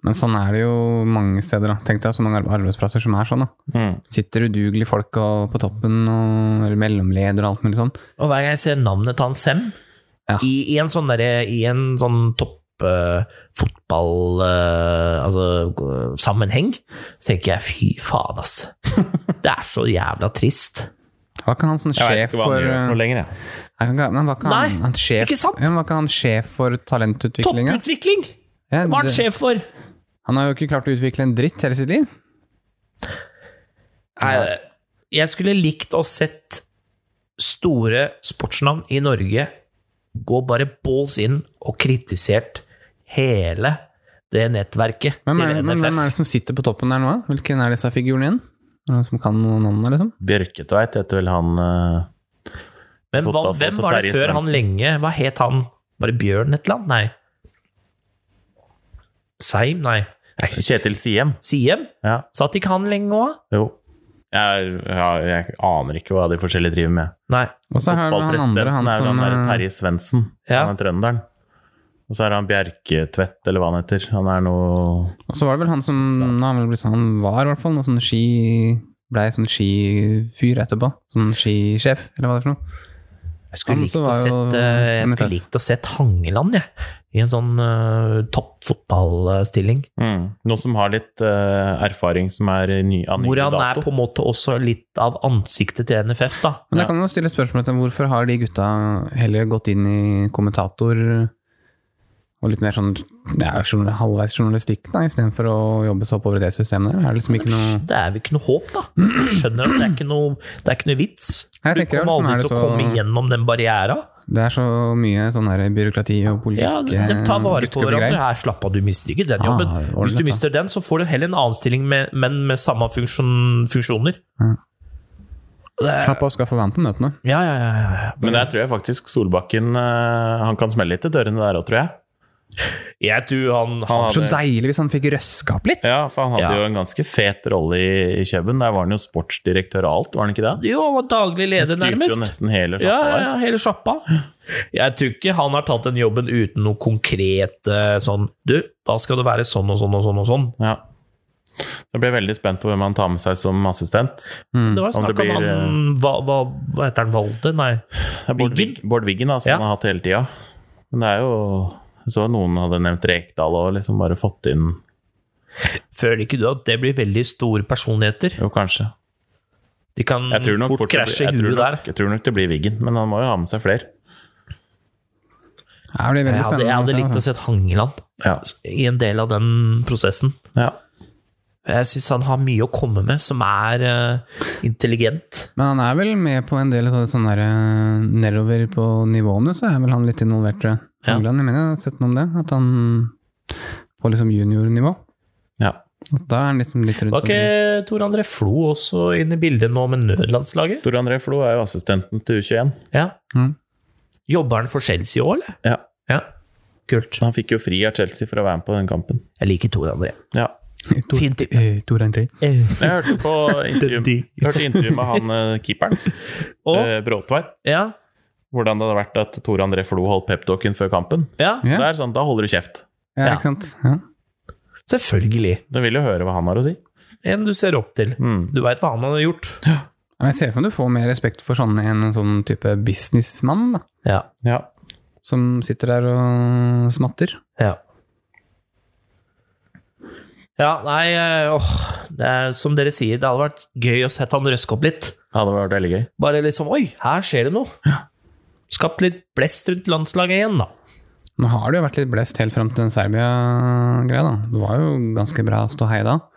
Speaker 2: Men sånn er det jo mange steder. da. Tenk deg så mange arbe- arbeidsplasser som er sånn. da.
Speaker 1: Mm.
Speaker 2: Sitter udugelige folk og, på toppen, og, eller mellomleder og alt mulig sånn.
Speaker 3: Og hver gang jeg ser navnet til han Sem
Speaker 2: Ja.
Speaker 3: i, i en sånn derre I en sånn topp eh, fotball eh, altså, eh, sammenheng, så tenker jeg fy faen, ass. Det er så jævla trist.
Speaker 2: Var ikke han sånn
Speaker 1: Jeg veit
Speaker 2: sjef
Speaker 1: ikke hva
Speaker 2: for
Speaker 1: han gjør for
Speaker 2: eh,
Speaker 1: noe lenger, jeg.
Speaker 2: jeg kan ikke- Men var ikke han,
Speaker 3: Nei,
Speaker 2: han sjef,
Speaker 3: ikke sant?
Speaker 2: Ja, men var ikke han sjef for talentutviklinga?
Speaker 3: Topputvikling!
Speaker 2: Ja,
Speaker 3: Hva er han
Speaker 2: det-
Speaker 3: sjef for?
Speaker 2: han har jo ikke klart å utvikle en dritt hele sitt liv.
Speaker 3: Nei, Eh, jeg skulle likt å sett store sportsnavn i Norge gå bare balls inn og kritisert hele det nettverket
Speaker 2: Hvem er,
Speaker 3: til
Speaker 2: men hvem er
Speaker 3: NFF.
Speaker 2: det som sitter på toppen der nå? da? Hvilken er disse figurene igjen? Er det noen som kan noen navn, liksom?
Speaker 1: Bjørketveit heter vel han eh,
Speaker 3: Men hva,
Speaker 1: Fotball,
Speaker 3: hvem
Speaker 1: også
Speaker 3: var det
Speaker 1: Terje
Speaker 3: før han
Speaker 1: Svendsen.
Speaker 3: lenge? Hva het han? Var det Bjørn et eller annet? Nei. Seim? Nei. Nei,
Speaker 1: Kjetil Siem.
Speaker 3: Siem?
Speaker 1: Ja.
Speaker 3: Satt ikke han lenge òg?
Speaker 1: Jo. Jeg, ja, jeg aner ikke hva de forskjellige driver med.
Speaker 3: Nei.
Speaker 2: Og så har vi han andre, han
Speaker 1: Fotballpresidenten er jo
Speaker 2: som
Speaker 1: han der
Speaker 2: eh,
Speaker 1: Terje Svendsen.
Speaker 3: Ja.
Speaker 1: Han er trønderen. Og så er han Bjerketvedt, eller hva han heter. Han er noe
Speaker 2: Og så var det vel han som nå har han, vel blitt, sånn- han var i hvert fall noe sånn ski Blei sånn skifyr etterpå. Sånn skisjef, eller hva det er for noe.
Speaker 3: Jeg skulle
Speaker 2: Han
Speaker 3: likt
Speaker 2: som
Speaker 3: å
Speaker 2: var jo
Speaker 3: sett, eh, jeg skulle
Speaker 2: NFF.
Speaker 3: likt å sett Hangeland, jeg. I en sånn eh, topp fotballstilling.
Speaker 1: Noen som har litt eh, erfaring som er i ny, av ny
Speaker 3: Hvor han er
Speaker 1: dato.
Speaker 3: på en måte også litt av ansiktet til NFF, da.
Speaker 2: Men
Speaker 1: Ja.
Speaker 2: jeg kan jo stille spørsmål til hvorfor har de gutta heller gått inn i kommentator og litt mer sånn ja, journal- halvveis journalistikk, da, istedenfor å jobbe så oppover i det systemet der? Er det liksom ikke noe
Speaker 3: Det er jo ikke noe håp, da. Du skjønner at det er ikke noe, det er ikke noe vits.
Speaker 2: Jeg
Speaker 3: Du
Speaker 2: tenker
Speaker 3: kommer
Speaker 2: liksom, er
Speaker 3: aldri
Speaker 2: det
Speaker 3: til å
Speaker 2: så-
Speaker 3: komme gjennom den barriera.
Speaker 2: Det er så mye sånn der byråkrati og politikk
Speaker 3: Ja, de tar vare på hverandre. Her slapp av, du mister ikke den
Speaker 2: eh, Ah,
Speaker 3: jobben. Hvis du
Speaker 2: ordentlig, da.
Speaker 3: mister den, så får du heller en annen stilling, med, men med samme funksjon, funksjoner.
Speaker 2: Slapp av, skal få være med på møtene.
Speaker 3: Ja, ja, ja, ja.
Speaker 1: Men der tror jeg faktisk Solbakken eh, Han kan smelle litt i dørene der òg, tror jeg.
Speaker 3: Jeg tror han, han
Speaker 1: Han
Speaker 2: Så
Speaker 1: hadde,
Speaker 2: deilig hvis han fikk røska opp litt!
Speaker 1: ja, for han hadde
Speaker 3: Ja.
Speaker 1: jo en ganske fet rolle i, i Kjøben. Der var han jo sportsdirektør og alt, var han ikke det?
Speaker 3: Jo, han var daglig leder,
Speaker 1: Styrte jo
Speaker 3: nærmest.
Speaker 1: nesten hele sjappa
Speaker 3: Ja, ja,
Speaker 1: der.
Speaker 3: ja, hele sjappa. Jeg tror ikke han har tatt den jobben uten noe konkret eh, sånn Du, da skal det være sånn og sånn og sånn og sånn.
Speaker 1: Ja. Så jeg ble veldig spent på hvem han tar med seg som assistent.
Speaker 2: Mm.
Speaker 3: Det var
Speaker 1: Om det
Speaker 3: snakk om
Speaker 1: blir,
Speaker 3: han hva, hva, hva heter han? Valde? Nei.
Speaker 1: Det er Bård
Speaker 3: Wiggen?
Speaker 1: Wig- Bård Wiggen, da, som
Speaker 3: Ja.
Speaker 1: han har hatt hele tida. Men det er jo Jeg så noen hadde nevnt Rekdal og liksom bare fått inn
Speaker 3: Føler ikke du at det blir veldig store personligheter?
Speaker 1: Jo, kanskje.
Speaker 3: De kan
Speaker 1: Jeg tror nok,
Speaker 3: fort,
Speaker 1: fort det blir-
Speaker 3: krasje i
Speaker 1: jeg tror
Speaker 3: huet der.
Speaker 1: nok, jeg tror nok det blir Wiggen, men han må jo ha med seg flere.
Speaker 2: Det blir veldig
Speaker 3: Jeg hadde,
Speaker 2: spennende.
Speaker 3: jeg
Speaker 2: å
Speaker 3: hadde
Speaker 2: se,
Speaker 3: likt å
Speaker 2: altså.
Speaker 3: se Hangeland
Speaker 1: Ja.
Speaker 3: i en del av den prosessen.
Speaker 1: ja.
Speaker 3: Jeg syns han har mye å komme med som er eh, intelligent.
Speaker 2: Men han er vel med på en del av det sånne der, eh, nedover på nivåene, så er vel han litt involvert, tror jeg.
Speaker 3: Ja.
Speaker 2: England, jeg mener, jeg har sett noe om det. At han på liksom juniornivå.
Speaker 1: ja.
Speaker 2: At Da er han liksom litt rundt
Speaker 3: Var ikke Tor André Flo også inne i bildet nå med nødlandslaget?
Speaker 1: Tor André Flo er jo assistenten til U21.
Speaker 3: Ja.
Speaker 2: Mm.
Speaker 3: Jobber han for Chelsea i år, eller?
Speaker 1: Ja.
Speaker 3: Ja. Kult.
Speaker 1: Han fikk jo fri av Chelsea for å være med på den kampen.
Speaker 3: Jeg liker Tor André.
Speaker 1: Ja.
Speaker 2: og- Tor-
Speaker 3: Fint.
Speaker 2: eh, Tor André.
Speaker 1: Jeg hørte på intervju, hørte intervju med han eh, keeperen,
Speaker 3: Og
Speaker 1: eh, Bråtveit,
Speaker 3: ja,
Speaker 1: hvordan det hadde vært at Tor André Flo holdt peptalken før kampen.
Speaker 3: ja,
Speaker 2: Ja.
Speaker 1: Det er sånn, Da holder du kjeft.
Speaker 2: Ja,
Speaker 3: Ja.
Speaker 2: ikke sant. Ja.
Speaker 3: selvfølgelig.
Speaker 1: Du vil jo høre hva han har å si.
Speaker 3: En du ser opp til.
Speaker 1: Mm.
Speaker 3: Du veit hva han har gjort.
Speaker 2: Men jeg ser for meg du får mer respekt for sånne enn en sånn type businessmann, da.
Speaker 3: Ja.
Speaker 1: Ja.
Speaker 2: Som sitter der og smatter.
Speaker 3: Ja. Ja, nei, eh, åh, det er som dere sier, det hadde vært gøy å sette han røske opp litt.
Speaker 1: Det hadde vært veldig gøy.
Speaker 3: Bare liksom, oi, her skjer det noe. Skapt litt blest rundt landslaget igjen, da.
Speaker 2: Nå har det jo vært litt blest helt fram til den Serbia-greia, da. Det var jo ganske bra ståhei da.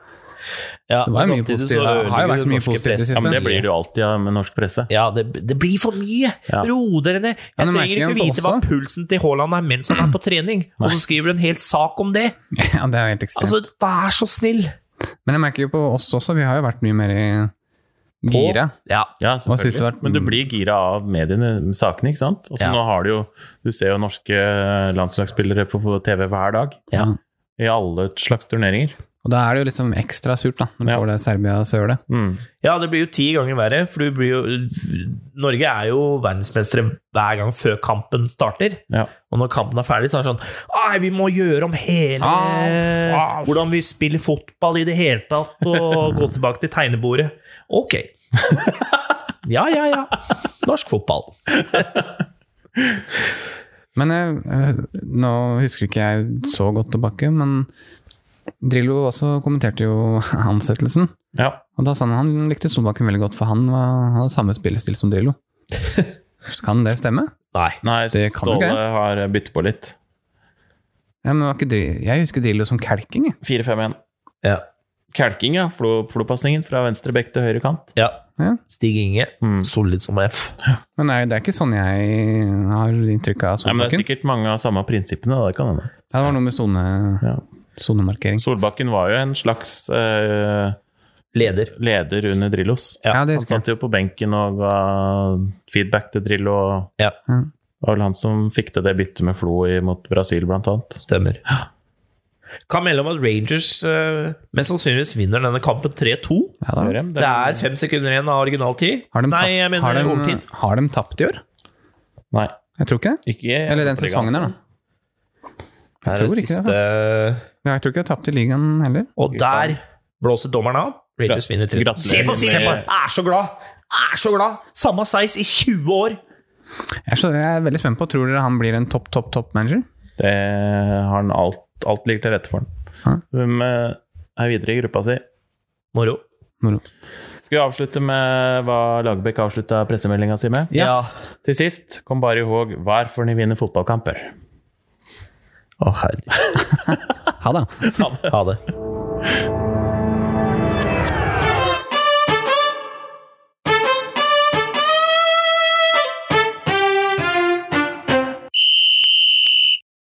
Speaker 3: Ja,
Speaker 2: Det var jo
Speaker 3: men
Speaker 2: mye
Speaker 3: samtidig
Speaker 2: positivt.
Speaker 3: så
Speaker 2: Det har jo
Speaker 3: ødelegger
Speaker 2: vært
Speaker 3: det
Speaker 2: mye
Speaker 3: norske
Speaker 2: positivt i det
Speaker 3: press.
Speaker 2: siste.
Speaker 1: Ja, men Det blir det jo alltid ja, med norsk presse.
Speaker 3: Ja, det, det blir for mye!
Speaker 1: Ja.
Speaker 3: Ro dere ned!
Speaker 2: men
Speaker 3: Jeg
Speaker 2: merker
Speaker 3: trenger ikke
Speaker 2: jeg
Speaker 3: vite hva
Speaker 2: også-
Speaker 3: pulsen til Haaland er mens han er på trening, og så skriver du en hel sak om det!
Speaker 2: Ja, det er jo helt ekstremt.
Speaker 3: Altså, vær så snill!
Speaker 2: Men jeg merker jo på oss også, vi har jo vært mye mer i gira.
Speaker 3: Ja,
Speaker 1: Ja,
Speaker 2: synes du Mm.
Speaker 1: selvfølgelig.
Speaker 2: det var-
Speaker 1: Men du blir gira av mediene, sakene, ikke sant? Og så
Speaker 3: Ja.
Speaker 1: nå har du jo Du ser jo norske eh, landslagsspillere på TV hver dag.
Speaker 3: Ja.
Speaker 1: I alle slags turneringer.
Speaker 2: Og da er det jo liksom ekstra surt, da, når du
Speaker 1: Ja.
Speaker 2: får det Serbia-sølet.
Speaker 1: Mm.
Speaker 3: Ja, det blir jo ti ganger verre, for du blir jo Norge er jo verdensmestere hver gang før kampen starter.
Speaker 1: Ja.
Speaker 3: Og når kampen er ferdig, så er det sånn Ai, vi må gjøre om hele
Speaker 2: Au,
Speaker 3: Hvordan vi spiller fotball i det hele tatt, og gå tilbake til tegnebordet. Ok. Ja, ja, ja. Norsk fotball.
Speaker 2: Men jeg, eh, nå husker ikke jeg så godt tilbake, men Drillo også kommenterte jo ansettelsen.
Speaker 1: ja.
Speaker 2: Og da sa han han likte Solbakken veldig godt, for han, var, han hadde samme spillestil som Drillo. Så Kan det stemme?
Speaker 3: Nei.
Speaker 1: Nei,
Speaker 2: Det kan du
Speaker 1: Ståle
Speaker 2: ikke.
Speaker 1: har byttet på litt.
Speaker 2: Ja, men var ikke Drillo, jeg husker Drillo som kelking, jeg.
Speaker 1: 4-5-1.
Speaker 3: Ja.
Speaker 1: Kelking, ja. Flo- Flopasningen fra venstre bekk til høyre kant.
Speaker 3: ja.
Speaker 2: Ja.
Speaker 3: Stig Inge,
Speaker 1: Mm.
Speaker 3: solid som F.
Speaker 2: Men det er, det er ikke sånn jeg har inntrykk av
Speaker 1: Ja, men det er
Speaker 2: Solbakken.
Speaker 1: sikkert mange av samme prinsippene. da, Det kan hende.
Speaker 2: Ja, det var noe med sone-
Speaker 1: Ja.
Speaker 2: sonemarkering.
Speaker 1: Solbakken var jo en slags eh,
Speaker 3: Leder.
Speaker 1: leder under Drillos.
Speaker 2: Ja,
Speaker 1: Han
Speaker 2: det husker jeg.
Speaker 1: satt jo på benken og ga feedback til Drillo. og
Speaker 3: Ja.
Speaker 2: Ja.
Speaker 1: Det var vel han som fikk til det byttet med Flo i- mot Brasil, blant annet.
Speaker 3: Stemmer. Kan melde om at Rangers eh, mest sannsynligvis vinner denne kampen 3-2.
Speaker 2: Ja, da.
Speaker 1: Hører jeg?
Speaker 3: Det er fem sekunder igjen av originaltid.
Speaker 2: Har de,
Speaker 3: Nei,
Speaker 2: tapt,
Speaker 3: jeg mener
Speaker 2: har, de,
Speaker 3: overtid.
Speaker 2: har de tapt i år?
Speaker 1: Nei,
Speaker 2: Jeg tror ikke det.
Speaker 1: ikke
Speaker 2: Eller den sesongen her, da. Jeg tror ikke det.
Speaker 3: det.
Speaker 2: Ja, Jeg tror ikke de har tapt i ligaen heller.
Speaker 3: Og der blåser dommeren av. Rangers vinner 3-2.
Speaker 1: Gratulerer
Speaker 3: Se på Stine!
Speaker 1: med-
Speaker 3: Jeg er så glad! Jeg er så glad! Samme sveis i 20 år!
Speaker 2: Jeg er, så, jeg er veldig spent på Tror dere han blir en topp, topp, topp manager?
Speaker 1: Det har han alt, alt ligger til rette for
Speaker 2: Hæ?
Speaker 1: han. Hvem eh, er videre i gruppa si?
Speaker 3: Moro.
Speaker 2: Moro.
Speaker 1: Skal vi avslutte med hva Lagerbäck avslutta pressemeldinga si med?
Speaker 3: Ja.
Speaker 1: Til sist, kom bare ihåg hvorfor ni vinner fotballkamper.
Speaker 3: Å, herregud.
Speaker 2: Ha det.
Speaker 3: Ha det.